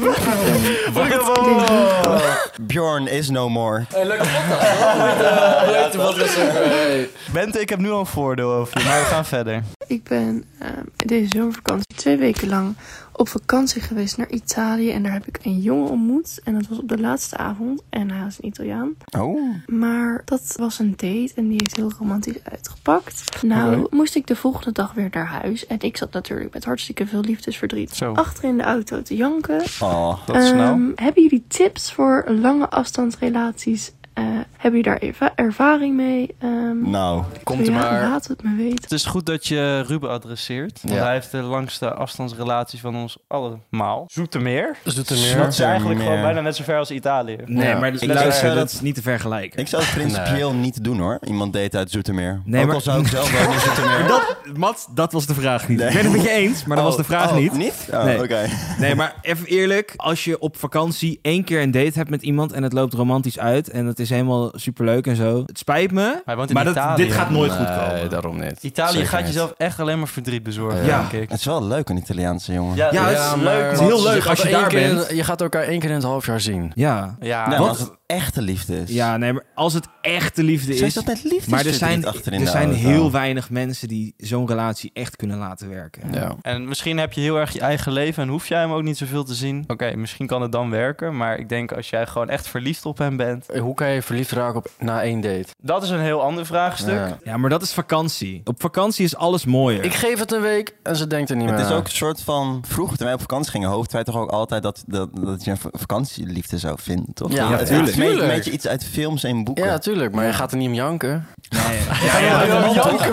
Speaker 4: Bjorn is no more.
Speaker 2: Hey, leuke podcast. hoor. Leuk te podcasten. Hey.
Speaker 3: Bente, ik heb nu al een voordeel over je, maar we gaan verder.
Speaker 10: Ik ben ehm, deze zomervakantie twee weken lang op vakantie geweest naar Italië. En daar heb ik een jongen ontmoet. En dat was op de laatste avond. En hij was een Italiaan.
Speaker 4: Oh.
Speaker 10: Maar dat was een date en die heeft heel romantisch uitgepakt. Nou, moest ik de volgende dag weer naar huis. En ik zat natuurlijk met hartstikke veel liefdesverdriet
Speaker 3: Zo.
Speaker 10: achter in de auto te janken.
Speaker 4: Oh.
Speaker 3: Dat is snel.
Speaker 10: Ehm, Hebben jullie tips voor lange afstandsrelaties eh, eh, hebben jullie daar erva- ervaring mee? Ehm,
Speaker 4: Nou,
Speaker 10: ja, Laat het me weten.
Speaker 3: Het is goed dat je Ruben adresseert. Want
Speaker 4: Ja.
Speaker 3: hij heeft de langste afstandsrelatie van ons allemaal. Zoetermeer.
Speaker 2: Zoetermeer.
Speaker 3: Dat is eigenlijk gewoon
Speaker 4: Zoetermeer.
Speaker 3: bijna net zo ver als Italië.
Speaker 1: Nee, maar
Speaker 4: ik
Speaker 1: dus,
Speaker 4: zou
Speaker 1: luister,
Speaker 4: dat-
Speaker 1: dat is niet te vergelijken.
Speaker 4: Ik zou het principieel niet doen hoor. Iemand deed uit Zoetermeer.
Speaker 1: Nee,
Speaker 4: Ook
Speaker 1: maar-
Speaker 4: al zou ik zelf wel in Zoetermeer.
Speaker 1: Dat, Mats, dat was de vraag niet.
Speaker 4: Nee.
Speaker 1: Ik ben het met je eens, maar dat
Speaker 4: Oh,
Speaker 1: was de vraag
Speaker 4: oh,
Speaker 1: niet.
Speaker 4: niet? Oh,
Speaker 1: nee.
Speaker 4: oké.
Speaker 1: nee, maar even eerlijk. Als je op vakantie één keer een date hebt met iemand en het loopt romantisch uit en het is helemaal superleuk en zo. Het spijt me,
Speaker 3: Hij woont in
Speaker 1: maar dat,
Speaker 3: Italië.
Speaker 1: dit gaat nooit
Speaker 2: nee,
Speaker 1: goed komen.
Speaker 2: daarom niet.
Speaker 3: Italië
Speaker 2: Zeker
Speaker 3: gaat
Speaker 2: niet.
Speaker 3: jezelf echt alleen maar verdriet bezorgen,
Speaker 1: Ja.
Speaker 3: denk ik.
Speaker 4: Het is wel leuk een Italiaanse jongen.
Speaker 3: Ja,
Speaker 1: Ja, het is leuk.
Speaker 2: maar-
Speaker 1: Het is heel leuk
Speaker 2: gaat
Speaker 1: als je
Speaker 2: één
Speaker 1: daar
Speaker 2: keer-
Speaker 1: bent.
Speaker 2: eh, Je gaat elkaar één keer in het half jaar zien.
Speaker 1: Ja.
Speaker 3: Ja,
Speaker 4: Nee,
Speaker 1: Wat?
Speaker 4: maar als het echte liefde is.
Speaker 1: ja, nee, maar als het echte liefde
Speaker 4: Zo
Speaker 1: is...
Speaker 4: is dat met liefde.
Speaker 1: Maar er zijn,
Speaker 4: achterin
Speaker 1: er
Speaker 4: de
Speaker 1: zijn
Speaker 4: auto.
Speaker 1: heel weinig mensen die zo'n relatie echt kunnen laten werken.
Speaker 2: Ja.
Speaker 3: En misschien heb je heel erg je eigen leven en hoef jij hem ook niet zoveel te zien. Oké, misschien kan het dan werken. Maar ik denk als jij gewoon echt verliefd op hem bent.
Speaker 2: Eh, Hoe kan je verliefd raken op, na één date?
Speaker 3: Dat is een heel ander vraagstuk.
Speaker 2: Ja.
Speaker 1: Ja, maar dat is vakantie. Op vakantie is alles mooier.
Speaker 2: Ik geef het een week en ze denkt er niet
Speaker 4: Het
Speaker 2: meer
Speaker 4: is
Speaker 2: aan.
Speaker 4: ook een soort van... Vroeger, toen wij op vakantie gingen, hoofd wij toch ook altijd dat, dat, dat je een va- vakantieliefde zou vinden, toch?
Speaker 2: Ja,
Speaker 4: het is
Speaker 2: tuurlijk.
Speaker 4: Een beetje iets uit films en boeken.
Speaker 2: Ja, tuurlijk, maar je gaat er niet om janken.
Speaker 1: Nee. Ja, ja, ja,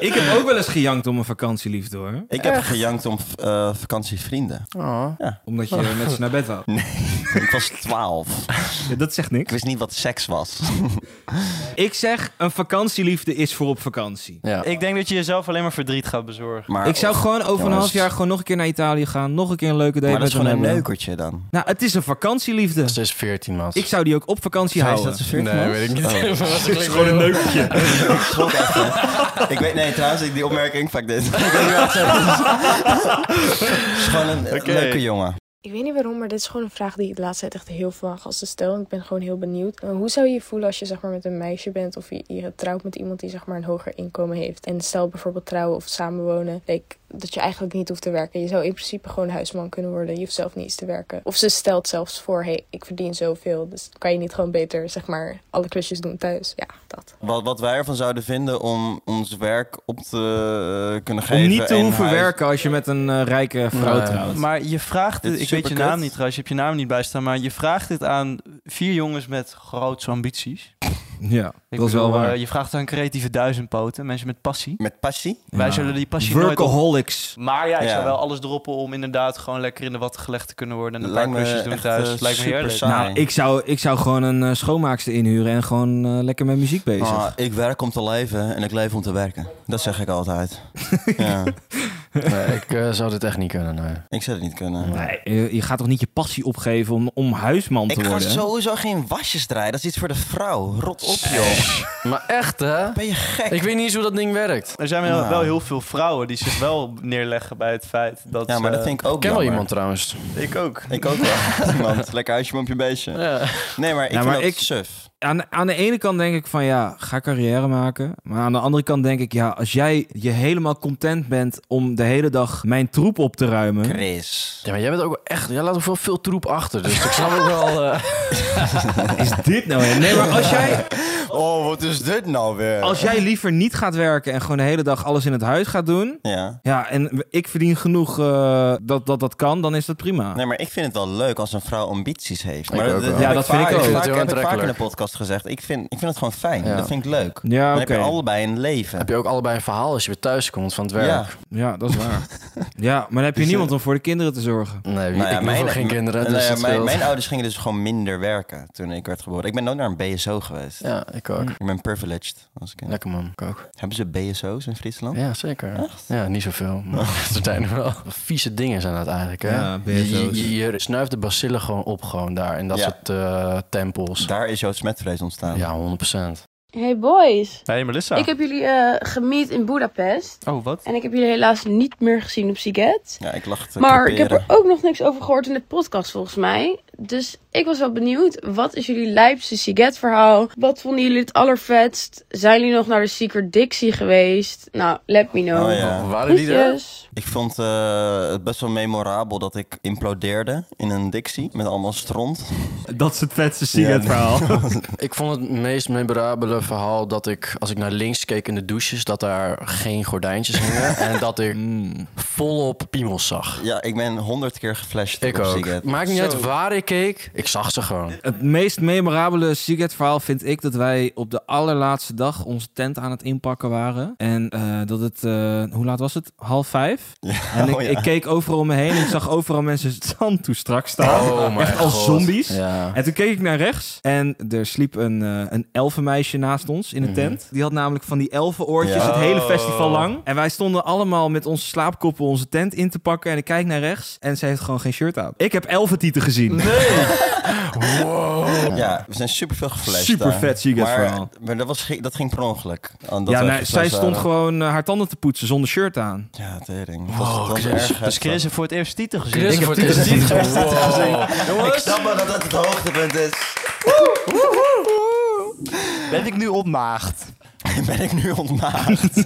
Speaker 1: Ik heb ook wel eens gejankt om een vakantieliefde hoor.
Speaker 4: ik heb gejankt om eh, vakantievrienden.
Speaker 2: Oh.
Speaker 1: Omdat je met ze naar bed wou.
Speaker 4: ik was twaalf.
Speaker 1: Ja, dat zegt
Speaker 4: Ik
Speaker 1: niks.
Speaker 4: wist niet wat seks was.
Speaker 1: Ik zeg, een vakantieliefde is voor op vakantie.
Speaker 2: Ja.
Speaker 3: Ik denk dat je jezelf alleen maar verdriet gaat bezorgen.
Speaker 4: Maar,
Speaker 1: Ik zou gewoon over een
Speaker 4: Jongens.
Speaker 1: half jaar gewoon nog een keer naar Italië gaan. Nog een keer een eh, leuke date
Speaker 4: maar
Speaker 1: met
Speaker 4: dat is gewoon
Speaker 1: hem
Speaker 4: een
Speaker 1: hebben.
Speaker 4: neukertje dan.
Speaker 1: Nou, het is een vakantieliefde.
Speaker 2: Ze is 14, man.
Speaker 1: Ik zou die ook op vakantie
Speaker 4: Zij is
Speaker 1: houden.
Speaker 4: dat ze veertien
Speaker 2: Nee,
Speaker 4: was?
Speaker 2: weet ik niet.
Speaker 4: Oh.
Speaker 2: Het is gewoon een neukertje.
Speaker 4: Ik schrok echt, hè. Ik weet, nee, trouwens, ik, die opmerking, fuck dit. Ik weet niet wat Het is gewoon een leuke jongen.
Speaker 12: Ik weet niet waarom, maar dit is gewoon een vraag die ik de laatste tijd echt heel veel aan gasten stel. En ik ben gewoon heel benieuwd. Eh, hoe zou je je voelen als je zeg maar, met een meisje bent of je, je trouwt met iemand die zeg maar, een hoger inkomen heeft? En stel bijvoorbeeld trouwen of samenwonen, like, dat je eigenlijk niet hoeft te werken. Je zou in principe gewoon huisman kunnen worden. Je hoeft zelf niet eens te werken. Of ze stelt zelfs voor, hey, ik verdien zoveel, dus kan je niet gewoon beter zeg maar, alle klusjes doen thuis? Ja, dat.
Speaker 4: Wat, wat wij ervan zouden vinden om ons werk op te eh, kunnen geven.
Speaker 1: Om niet te
Speaker 4: en
Speaker 1: hoeven
Speaker 4: huis-
Speaker 1: werken als je met een eh, rijke vrouw
Speaker 2: Nee.
Speaker 1: trouwt.
Speaker 3: Maar je vraagt
Speaker 4: Dit
Speaker 3: dit,
Speaker 4: is
Speaker 3: ik weet je
Speaker 4: superkut.
Speaker 3: naam niet trouwens, je hebt je naam niet bij staan, maar je vraagt dit aan vier jongens met grootse ambities.
Speaker 1: Ja,
Speaker 3: Ik
Speaker 1: dat is wel
Speaker 3: bedoel,
Speaker 1: waar.
Speaker 3: eh, je vraagt aan creatieve duizendpoten, mensen met passie.
Speaker 4: Met passie.
Speaker 3: Wij zullen die passie nooit op-
Speaker 1: Workaholics.
Speaker 3: Maar ja, ik
Speaker 4: Ja.
Speaker 3: zou wel alles droppen om inderdaad gewoon lekker in de watten gelegd te kunnen worden. En een
Speaker 4: Lijkt
Speaker 3: paar
Speaker 4: me
Speaker 3: klusjes doen
Speaker 4: echt,
Speaker 3: thuis.
Speaker 4: eh,
Speaker 3: Lijkt me
Speaker 4: super
Speaker 3: heerlijk.
Speaker 4: saai.
Speaker 1: Nou, ik zou, ik zou gewoon een eh, schoonmaakster inhuren en gewoon eh, lekker met muziek bezig.
Speaker 4: Ah, ik werk om te leven en ik leef om te werken. Dat zeg ik altijd. ja.
Speaker 2: Nee, ik eh, zou dit echt niet kunnen, nee.
Speaker 4: Ik zou het niet kunnen.
Speaker 1: Nee, je, je gaat toch niet je passie opgeven om, om huisman te
Speaker 4: Ik ga
Speaker 1: worden?
Speaker 4: sowieso geen wasjes draaien. Dat is iets voor de vrouw. Rot op, joh.
Speaker 2: Maar echt, hè?
Speaker 4: Ben je gek?
Speaker 2: Ik weet niet eens hoe dat ding werkt.
Speaker 3: Er zijn wel, wel heel veel vrouwen die zich wel neerleggen bij het feit dat.
Speaker 4: Ja, maar dat
Speaker 3: eh,
Speaker 4: vind ik ook
Speaker 2: Ik ken wel
Speaker 4: jammer.
Speaker 2: iemand trouwens.
Speaker 3: ik ook.
Speaker 4: Ik ook wel. iemand. Lekker huisje op je beestje. Nee, maar ik
Speaker 1: Ja,
Speaker 4: vind
Speaker 1: maar
Speaker 4: dat
Speaker 1: ik-
Speaker 4: suf.
Speaker 1: Aan, aan de ene kant denk ik van ja, ga carrière maken. Maar aan de andere kant denk ik ja, als jij je helemaal content bent om de hele dag mijn troep op te
Speaker 2: Hm?
Speaker 1: ruimen.
Speaker 4: Chris.
Speaker 2: Ja, maar jij bent ook wel echt... Jij laat ook wel veel troep achter, dus ik snap ook wel... eh,
Speaker 1: Is dit nou weer? Nee, maar als jij,
Speaker 4: Oh, wat is dit nou weer?
Speaker 1: als jij liever niet gaat werken en gewoon de hele dag alles in het huis gaat doen.
Speaker 4: Ja.
Speaker 1: Ja, en ik verdien genoeg eh, dat, dat dat kan, dan is dat prima.
Speaker 4: Nee, maar ik vind het wel leuk als een vrouw ambities heeft. Maar
Speaker 2: ook
Speaker 4: dat-
Speaker 2: wel.
Speaker 4: heb
Speaker 1: Ja, dat vind
Speaker 4: vaak-
Speaker 1: ik ook. Ik
Speaker 4: Vaak,
Speaker 2: vind het heel
Speaker 4: heb ik vaak in de
Speaker 2: aantrekkelijk.
Speaker 4: podcast gezegd. Ik vind, ik vind het gewoon fijn.
Speaker 2: Ja. Ah,
Speaker 4: Dat vind ik leuk.
Speaker 1: Ja,
Speaker 4: Dan
Speaker 1: oké.
Speaker 4: heb je allebei een leven.
Speaker 2: heb je ook allebei een verhaal als je weer thuis komt van het werk?
Speaker 4: Ja.
Speaker 1: Ja, dat is waar. ja, maar dan heb je
Speaker 4: Dus,
Speaker 1: niemand om voor de kinderen te zorgen.
Speaker 2: Nee,
Speaker 4: Nou ja,
Speaker 2: ik heb ook geen kinderen, dus
Speaker 4: nou ja,
Speaker 2: dat
Speaker 4: mijn,
Speaker 2: scheelt.
Speaker 4: mijn ouders gingen dus gewoon minder werken toen ik werd geboren. Ik ben nooit naar een BSO geweest.
Speaker 2: Ja, ik ook.
Speaker 4: Ik ben privileged. Als ik...
Speaker 2: Lekker man, ik ook.
Speaker 4: Hebben ze BSO's in Friesland?
Speaker 2: Ja, zeker. Ja, niet zoveel, maar
Speaker 4: Oh.
Speaker 2: er zijn er wel. Vieze dingen zijn dat eigenlijk, hè?
Speaker 1: Ja,
Speaker 2: je,
Speaker 1: BSO's.
Speaker 2: je, je snuift de bacillen gewoon op gewoon daar, in dat
Speaker 4: Ja.
Speaker 2: soort eh, tempels.
Speaker 4: Daar is jouw smetvrees ontstaan.
Speaker 2: Ja, 100%.
Speaker 10: Hey boys,
Speaker 3: Hey Melissa.
Speaker 10: ik heb jullie eh gemiet in Budapest.
Speaker 3: Oh, wat?
Speaker 10: En ik heb jullie helaas niet meer gezien op Siget.
Speaker 4: Ja, ik lacht. te
Speaker 10: Maar ik heb
Speaker 4: creperen.
Speaker 10: er ook nog niks over gehoord in de podcast volgens mij. Dus ik was wel benieuwd, wat is jullie lijpste Siget verhaal? Wat vonden jullie het allervetst? Zijn jullie nog naar de Secret Dixie geweest? Nou, let me know.
Speaker 4: Oh ja.
Speaker 2: Waren die er?
Speaker 10: Groetjes.
Speaker 4: Ik vond eh, het best wel memorabel dat ik implodeerde in een dictie met allemaal stront.
Speaker 1: Dat is het vetste Siget-verhaal.
Speaker 2: ik vond het meest memorabele verhaal dat ik, als ik naar links keek in de douches, dat daar geen gordijntjes hingen. en dat ik
Speaker 1: Mm.
Speaker 2: volop piemels zag.
Speaker 4: Ja, ik ben honderd keer geflasht
Speaker 2: Ik
Speaker 4: op
Speaker 2: ook.
Speaker 4: Siget.
Speaker 2: Maakt niet
Speaker 4: Zo.
Speaker 2: uit waar ik keek, ik zag ze gewoon.
Speaker 1: Het meest memorabele Siget-verhaal vind ik dat wij op de allerlaatste dag onze tent aan het inpakken waren. En eh, dat het, eh, hoe laat was het? Half vijf? en ik,
Speaker 2: oh ja.
Speaker 1: ik keek overal om me heen en ik zag overal mensen het zand toe strak staan.
Speaker 2: Oh mijn
Speaker 1: Echt als
Speaker 2: God.
Speaker 1: zombies.
Speaker 2: Ja.
Speaker 1: En toen keek ik naar rechts en er sliep een, eh, een elfenmeisje naast ons in de
Speaker 2: Mhm.
Speaker 1: tent. Die had namelijk van die elfenoortjes
Speaker 2: Ja.
Speaker 1: het hele festival
Speaker 2: Oh.
Speaker 1: lang. En wij stonden allemaal met onze slaapkoppen onze tent in te pakken. En ik kijk naar rechts en ze heeft gewoon geen shirt aan. Ik heb elfentieten gezien.
Speaker 4: Wow. Ja, we zijn super veel geflasht.
Speaker 1: Super
Speaker 4: daar.
Speaker 1: vet Siget
Speaker 4: Maar-
Speaker 1: verhaal.
Speaker 4: Maar dat, was, ge- dat ging per ongeluk. Omdat
Speaker 1: ja,
Speaker 4: we
Speaker 1: nee,
Speaker 4: geflasht
Speaker 1: zij stond
Speaker 4: waren.
Speaker 1: gewoon eh, haar tanden te poetsen zonder shirt aan.
Speaker 4: Ja, tering.
Speaker 1: Wow,
Speaker 4: Dat was- dat was
Speaker 1: Chris.
Speaker 4: erg
Speaker 1: Dus
Speaker 4: heftig.
Speaker 1: Chris heeft
Speaker 3: voor het eerst titel gezien.
Speaker 1: Chris
Speaker 4: Ik heb
Speaker 1: voor het
Speaker 4: titel
Speaker 1: eerst
Speaker 4: gezien.
Speaker 1: titel.
Speaker 4: Titel gezien.
Speaker 1: Wow.
Speaker 4: Ik snap wel dat het het hoogtepunt is.
Speaker 3: Ben ik nu ontmaagd?
Speaker 4: Ben ik nu ontmaagd?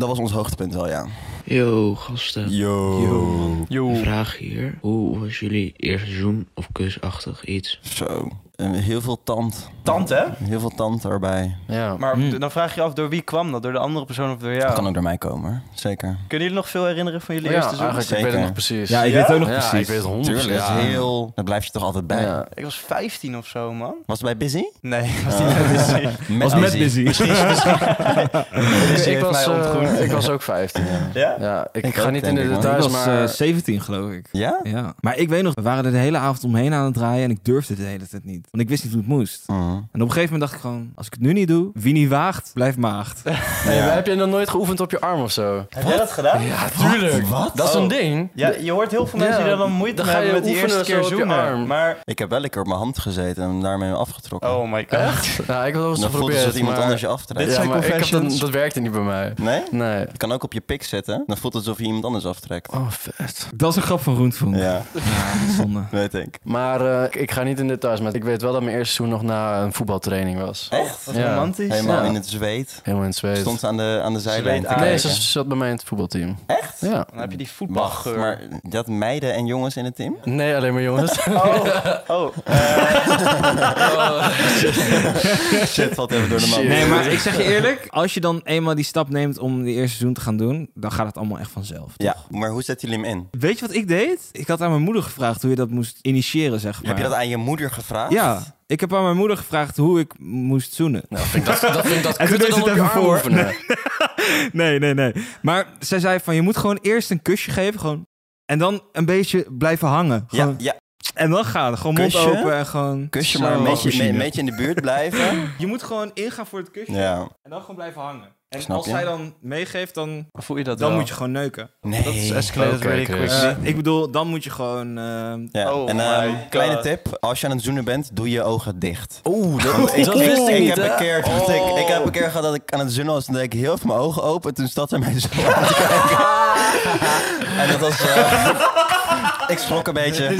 Speaker 4: dat was ons hoogtepunt wel, ja.
Speaker 13: Yo, gasten.
Speaker 4: Yo.
Speaker 13: Een vraag hier. Hoe was jullie eerste seizoen of kusachtig iets?
Speaker 4: Zo. En Heel veel tand.
Speaker 3: Tand, hè?
Speaker 4: Heel veel tand erbij.
Speaker 2: Ja.
Speaker 3: Maar d- dan vraag je je af, door wie kwam dat? Door de andere persoon of door jou?
Speaker 4: Dat Hmm. kan ook door mij komen, hoor. zeker.
Speaker 3: Kunnen jullie nog veel herinneren van jullie
Speaker 2: Ja,
Speaker 3: eerste seizoen?
Speaker 2: eigenlijk, ik weet het nog precies.
Speaker 4: Ja, ik weet het ook nog
Speaker 2: Ja,
Speaker 4: precies.
Speaker 2: ik weet het honderd
Speaker 4: Tuurlijk,
Speaker 2: procent.
Speaker 4: dat is
Speaker 2: Ja.
Speaker 4: heel... Dat blijf je toch altijd bij.
Speaker 2: Ja.
Speaker 3: Ik was 15 of zo, man.
Speaker 4: Was het bij Busy?
Speaker 3: Nee, was niet
Speaker 4: Ah.
Speaker 3: met Busy. Was met Busy.
Speaker 4: Misschien- misschien- Busy
Speaker 2: ik,
Speaker 4: heeft
Speaker 2: was,
Speaker 4: mij
Speaker 2: eh,
Speaker 4: ontgroend.
Speaker 2: ik was ook 15. Ja.
Speaker 3: Ja?
Speaker 2: ik, ga niet in de
Speaker 1: Ik
Speaker 2: details,
Speaker 1: was
Speaker 2: maar...
Speaker 1: eh, 17 geloof ik.
Speaker 4: Ja?
Speaker 1: ja? Maar ik weet nog, we waren er de hele avond omheen aan het draaien en ik durfde de hele tijd niet. Want ik wist niet hoe het moest. En
Speaker 4: Mm.
Speaker 1: op een gegeven moment dacht ik gewoon, als ik het nu niet doe, wie niet waagt, blijft maagd.
Speaker 2: Hey, Heb je nog nooit geoefend op je arm of zo?
Speaker 3: Heb jij dat gedaan?
Speaker 2: Ja, tuurlijk. Dat is
Speaker 3: Oh.
Speaker 2: een ding.
Speaker 3: Ja, je hoort heel veel mensen
Speaker 2: Ja,
Speaker 3: die daar dan moeite
Speaker 2: dan
Speaker 3: mee
Speaker 2: ga
Speaker 3: hebben
Speaker 2: je
Speaker 3: met die
Speaker 2: oefenen
Speaker 3: eerste
Speaker 2: zo
Speaker 3: keer
Speaker 2: op je
Speaker 3: zoomen.
Speaker 2: arm.
Speaker 3: Maar
Speaker 4: Ik heb wel lekker op mijn hand gezeten en daarmee afgetrokken.
Speaker 3: Oh my god.
Speaker 2: Echt? Nou, ik heb wel eens
Speaker 4: Dan voelt het
Speaker 2: geprobeerd.
Speaker 4: alsof iemand
Speaker 2: maar-
Speaker 4: anders je aftrekt.
Speaker 2: Ja, maar ik heb dat, dat werkte niet bij mij.
Speaker 4: Nee? Nee. Het kan ook op je pik zetten. Dan voelt het alsof je iemand anders aftrekt.
Speaker 2: Oh, vet.
Speaker 1: Dat is een grap van Roentvoen.
Speaker 4: Ja.
Speaker 1: zonde.
Speaker 4: Weet ik.
Speaker 2: Maar eh, ik- ik ga niet in details, maar ik weet wel dat mijn eerste seizoen nog na een voetbaltraining was.
Speaker 4: Echt?
Speaker 2: Ja. Ja.
Speaker 4: Helemaal in het zweet.
Speaker 2: Helemaal in het zweet.
Speaker 4: Stond ze aan de, aan de zijlijn te
Speaker 2: Ah, Nee,
Speaker 4: kijken.
Speaker 2: ze zat bij mij in het voetbalteam.
Speaker 4: Echt?
Speaker 2: Ja.
Speaker 3: Dan heb je die
Speaker 4: Wacht,
Speaker 3: voetbalgeur.
Speaker 4: maar dat meiden en jongens in het team?
Speaker 2: Nee, alleen maar jongens.
Speaker 3: Oh.
Speaker 4: Oh. Shit, valt even door de man.
Speaker 1: Nee, maar ik zeg je eerlijk, als je dan eenmaal die stap neemt om die eerste seizoen te gaan doen, dan gaat het allemaal echt vanzelf.
Speaker 4: Ja, maar hoe zet jullie hem in?
Speaker 1: Weet je wat ik deed? Ik had aan mijn moeder gevraagd hoe je dat moest initiëren, zeg maar.
Speaker 4: Heb je dat aan je moeder gevraagd?
Speaker 1: Ja, ik heb aan mijn moeder gevraagd hoe ik moest zoenen.
Speaker 2: Nou, vind ik dat, dat, vind ik dat
Speaker 1: En toen
Speaker 2: kutter
Speaker 1: deed
Speaker 2: dan
Speaker 1: ze
Speaker 2: op
Speaker 1: het
Speaker 2: je
Speaker 1: even
Speaker 2: arm
Speaker 1: voor.
Speaker 2: oefenen.
Speaker 1: Nee, nee, nee. Maar zij zei van, je moet gewoon eerst een kusje geven, gewoon. En dan een beetje blijven hangen. Gewoon-
Speaker 4: ja.
Speaker 1: En dan gaan, gewoon mond
Speaker 4: Kusje?
Speaker 1: open en gewoon...
Speaker 4: Kusje,
Speaker 1: Zo.
Speaker 4: maar een beetje,
Speaker 1: Wasmachine.
Speaker 4: een beetje in de buurt blijven.
Speaker 1: Je moet gewoon ingaan voor het kusje
Speaker 4: Ja.
Speaker 1: en dan gewoon blijven hangen. En
Speaker 4: Snap
Speaker 1: als
Speaker 4: je?
Speaker 1: zij dan meegeeft, dan,
Speaker 3: voel je dat
Speaker 1: dan
Speaker 3: wel.
Speaker 1: moet je gewoon neuken.
Speaker 4: Nee.
Speaker 3: Dat is
Speaker 2: Oh,
Speaker 3: escalated
Speaker 4: Oké,
Speaker 3: really
Speaker 4: Chris.
Speaker 3: quick.
Speaker 1: Eh, ik bedoel, dan moet je gewoon... eh,
Speaker 4: Ja.
Speaker 3: Oh
Speaker 4: en ehm,
Speaker 3: my
Speaker 4: kleine
Speaker 3: God.
Speaker 4: tip, als je aan het zoenen bent, doe je ogen dicht.
Speaker 2: Oeh,
Speaker 4: Want ik, ik, ik heb
Speaker 2: hè?
Speaker 4: een keer,
Speaker 2: Oh.
Speaker 4: ik, ik heb een keer gehad dat ik aan het zoenen was en dat ik heel even mijn ogen open. Toen zat er mij zo aan te kijken. en dat was... eh, ik schrok een beetje.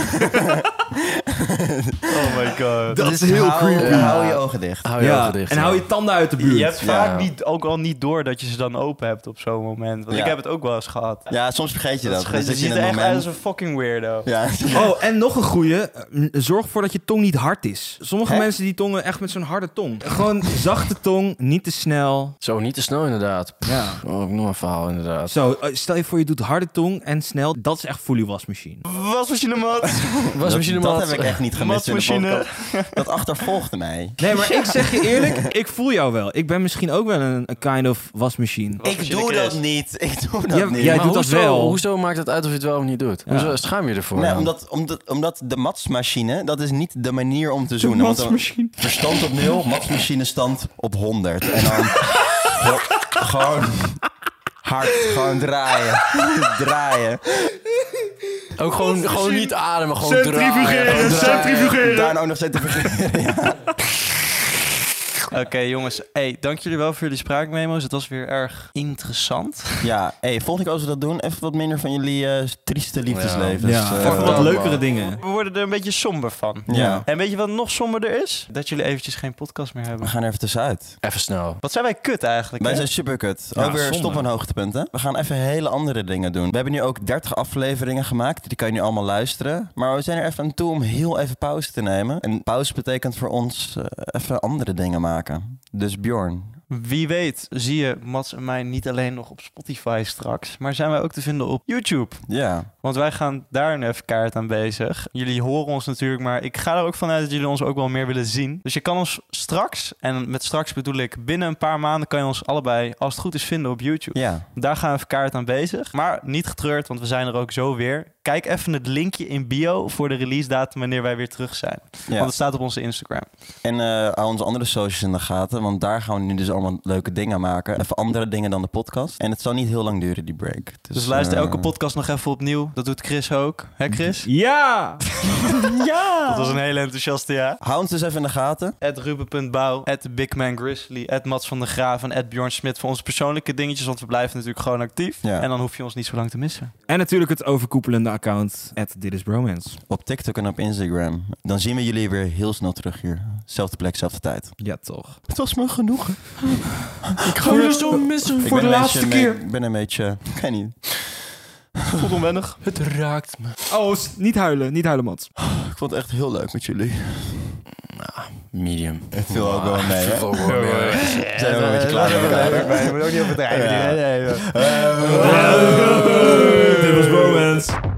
Speaker 3: Oh my god.
Speaker 4: Dus hou- Hou je ogen dicht.
Speaker 2: Hou je
Speaker 1: Ja,
Speaker 2: ogen dicht.
Speaker 1: en
Speaker 2: Oh, ja.
Speaker 1: hou je tanden uit de buurt.
Speaker 3: Je hebt vaak
Speaker 2: Ja.
Speaker 3: niet, ook al niet door dat je ze dan open hebt op zo'n moment. Want
Speaker 4: Ja.
Speaker 3: ik heb het ook wel eens gehad.
Speaker 4: Ja, soms vergeet je
Speaker 3: Dat
Speaker 4: dat.
Speaker 3: is ge-
Speaker 4: Dan
Speaker 3: je
Speaker 4: zit je
Speaker 3: ziet
Speaker 4: in
Speaker 3: er
Speaker 4: een
Speaker 3: echt uit als
Speaker 4: moment...
Speaker 3: een fucking weirdo.
Speaker 4: Ja.
Speaker 1: Oh, en nog een goeie. Eh, Zorg ervoor dat je tong niet hard is. Sommige mensen die tongen echt met zo'n harde tong. Gewoon zachte tong, niet te snel.
Speaker 2: Zo, niet te snel inderdaad. Pff,
Speaker 1: Ja.
Speaker 2: Oh, ik noem een verhaal inderdaad.
Speaker 1: Zo, eh, stel je voor je doet harde tong en snel. Dat is echt fully wasmachine.
Speaker 3: Wasmachine mat.
Speaker 2: Wasmachine
Speaker 4: dat,
Speaker 2: mat.
Speaker 4: dat heb ik echt niet gemist in de
Speaker 3: Matmachine.
Speaker 4: podcast. Dat achtervolgde mij.
Speaker 1: Nee, maar ik zeg je eerlijk, ik voel jou wel. Ik ben misschien ook wel een, een kind of wasmachine.
Speaker 4: Ik doe dat niet. Ik doe dat
Speaker 1: Ja,
Speaker 4: niet.
Speaker 1: jij
Speaker 2: Maar
Speaker 1: doet dat
Speaker 2: hoezo,
Speaker 1: wel.
Speaker 2: hoezo maakt het uit of je het wel of niet doet? Hoezo schaam je ervoor?
Speaker 4: Nee,
Speaker 2: dan?
Speaker 4: omdat, omdat, omdat de matsmachine, dat is niet de manier om te zoenen. want dan-
Speaker 1: matsmachine.
Speaker 4: Verstand op nul, matsmachine stand op 100. En dan go- gewoon hard, gewoon draaien. draaien.
Speaker 2: Ook gewoon, gewoon niet ademen, gewoon draaien.
Speaker 1: Centrifugeren,
Speaker 2: gewoon draaien.
Speaker 1: centrifugeren.
Speaker 4: Daarna ook nog centrifugeren.
Speaker 3: Oké, jongens. Hey, dank jullie wel voor jullie spraakmemo's. Het was weer erg interessant.
Speaker 4: Ja, hey, volgende keer als we dat doen, even wat minder van jullie eh, trieste liefdeslevens.
Speaker 3: Ja.
Speaker 4: eh,
Speaker 3: Fuck, wat
Speaker 4: vertellen.
Speaker 3: leukere dingen. We worden er een beetje somber van.
Speaker 4: Ja.
Speaker 3: En weet je wat nog somberder is? Dat jullie eventjes geen podcast meer hebben.
Speaker 4: We gaan er even tussenuit.
Speaker 2: Even snel.
Speaker 3: Wat zijn wij kut eigenlijk?
Speaker 4: Wij
Speaker 3: hè?
Speaker 4: zijn superkut.
Speaker 3: Ja,
Speaker 4: Alweer
Speaker 3: zonde.
Speaker 4: stop een hoogtepunt, hè? We gaan even hele andere dingen doen. We hebben nu ook 30 afleveringen gemaakt. Die kan je nu allemaal luisteren. Maar we zijn er even aan toe om heel even pauze te nemen. En pauze betekent voor ons eh, even andere dingen maken. Dus Bjorn.
Speaker 3: Wie weet zie je Mats en mij niet alleen nog op Spotify straks, maar zijn wij ook te vinden op YouTube.
Speaker 4: Ja.
Speaker 3: Want wij gaan daar een F-kaart aan bezig. Jullie horen ons natuurlijk, maar ik ga er ook vanuit dat jullie ons ook wel meer willen zien. Dus je kan ons straks, en met straks bedoel ik binnen een paar maanden, kan je ons allebei, als het goed is, vinden op YouTube.
Speaker 4: Ja.
Speaker 3: Daar gaan we F-kaart aan bezig. Maar niet getreurd, want we zijn er ook zo weer. Kijk even het linkje in bio voor de release datum wanneer wij weer terug zijn. Want het staat op onze Instagram.
Speaker 4: En eh, hou onze andere socials in de gaten. Want daar gaan we nu dus allemaal leuke dingen maken. Even andere dingen dan de podcast. En het zal niet heel lang duren, die break. Dus,
Speaker 3: Dus, luister
Speaker 4: eh,
Speaker 3: elke podcast nog even opnieuw. Dat doet Chris ook. Hè Chris?
Speaker 1: Ja!
Speaker 3: ja! Dat was een hele enthousiaste ja.
Speaker 4: Hou ons dus even in de gaten.
Speaker 3: At Ruben.bouw, at Grizzly, at Mats van der Graaf en at Bjorn Smit voor onze persoonlijke dingetjes. Want we blijven natuurlijk gewoon actief. En dan hoef je ons niet zo lang te missen.
Speaker 1: En natuurlijk het overkoepelende account, Dit is Bromance.
Speaker 4: Op TikTok en op Instagram. Dan zien we jullie weer heel snel terug hier. Zelfde plek, zelfde tijd.
Speaker 1: Ja, toch.
Speaker 4: Het was me genoeg.
Speaker 1: Ik ga weer zo missen voor de laatste keer.
Speaker 4: Ik ben een beetje... Ik weet niet.
Speaker 3: Voelt onwennig.
Speaker 1: Het raakt me. Oh, s- niet huilen, niet huilen, Mats.
Speaker 4: Ik vond het echt heel leuk met jullie.
Speaker 2: Medium.
Speaker 4: Het viel ook wel
Speaker 2: Ah,
Speaker 4: mee,
Speaker 2: het
Speaker 4: hè?
Speaker 2: viel ook wel mee, hè?
Speaker 4: We Zijn we een beetje klaar met elkaar?
Speaker 3: We moeten ook niet overdrijven.
Speaker 4: Dit was Bromance.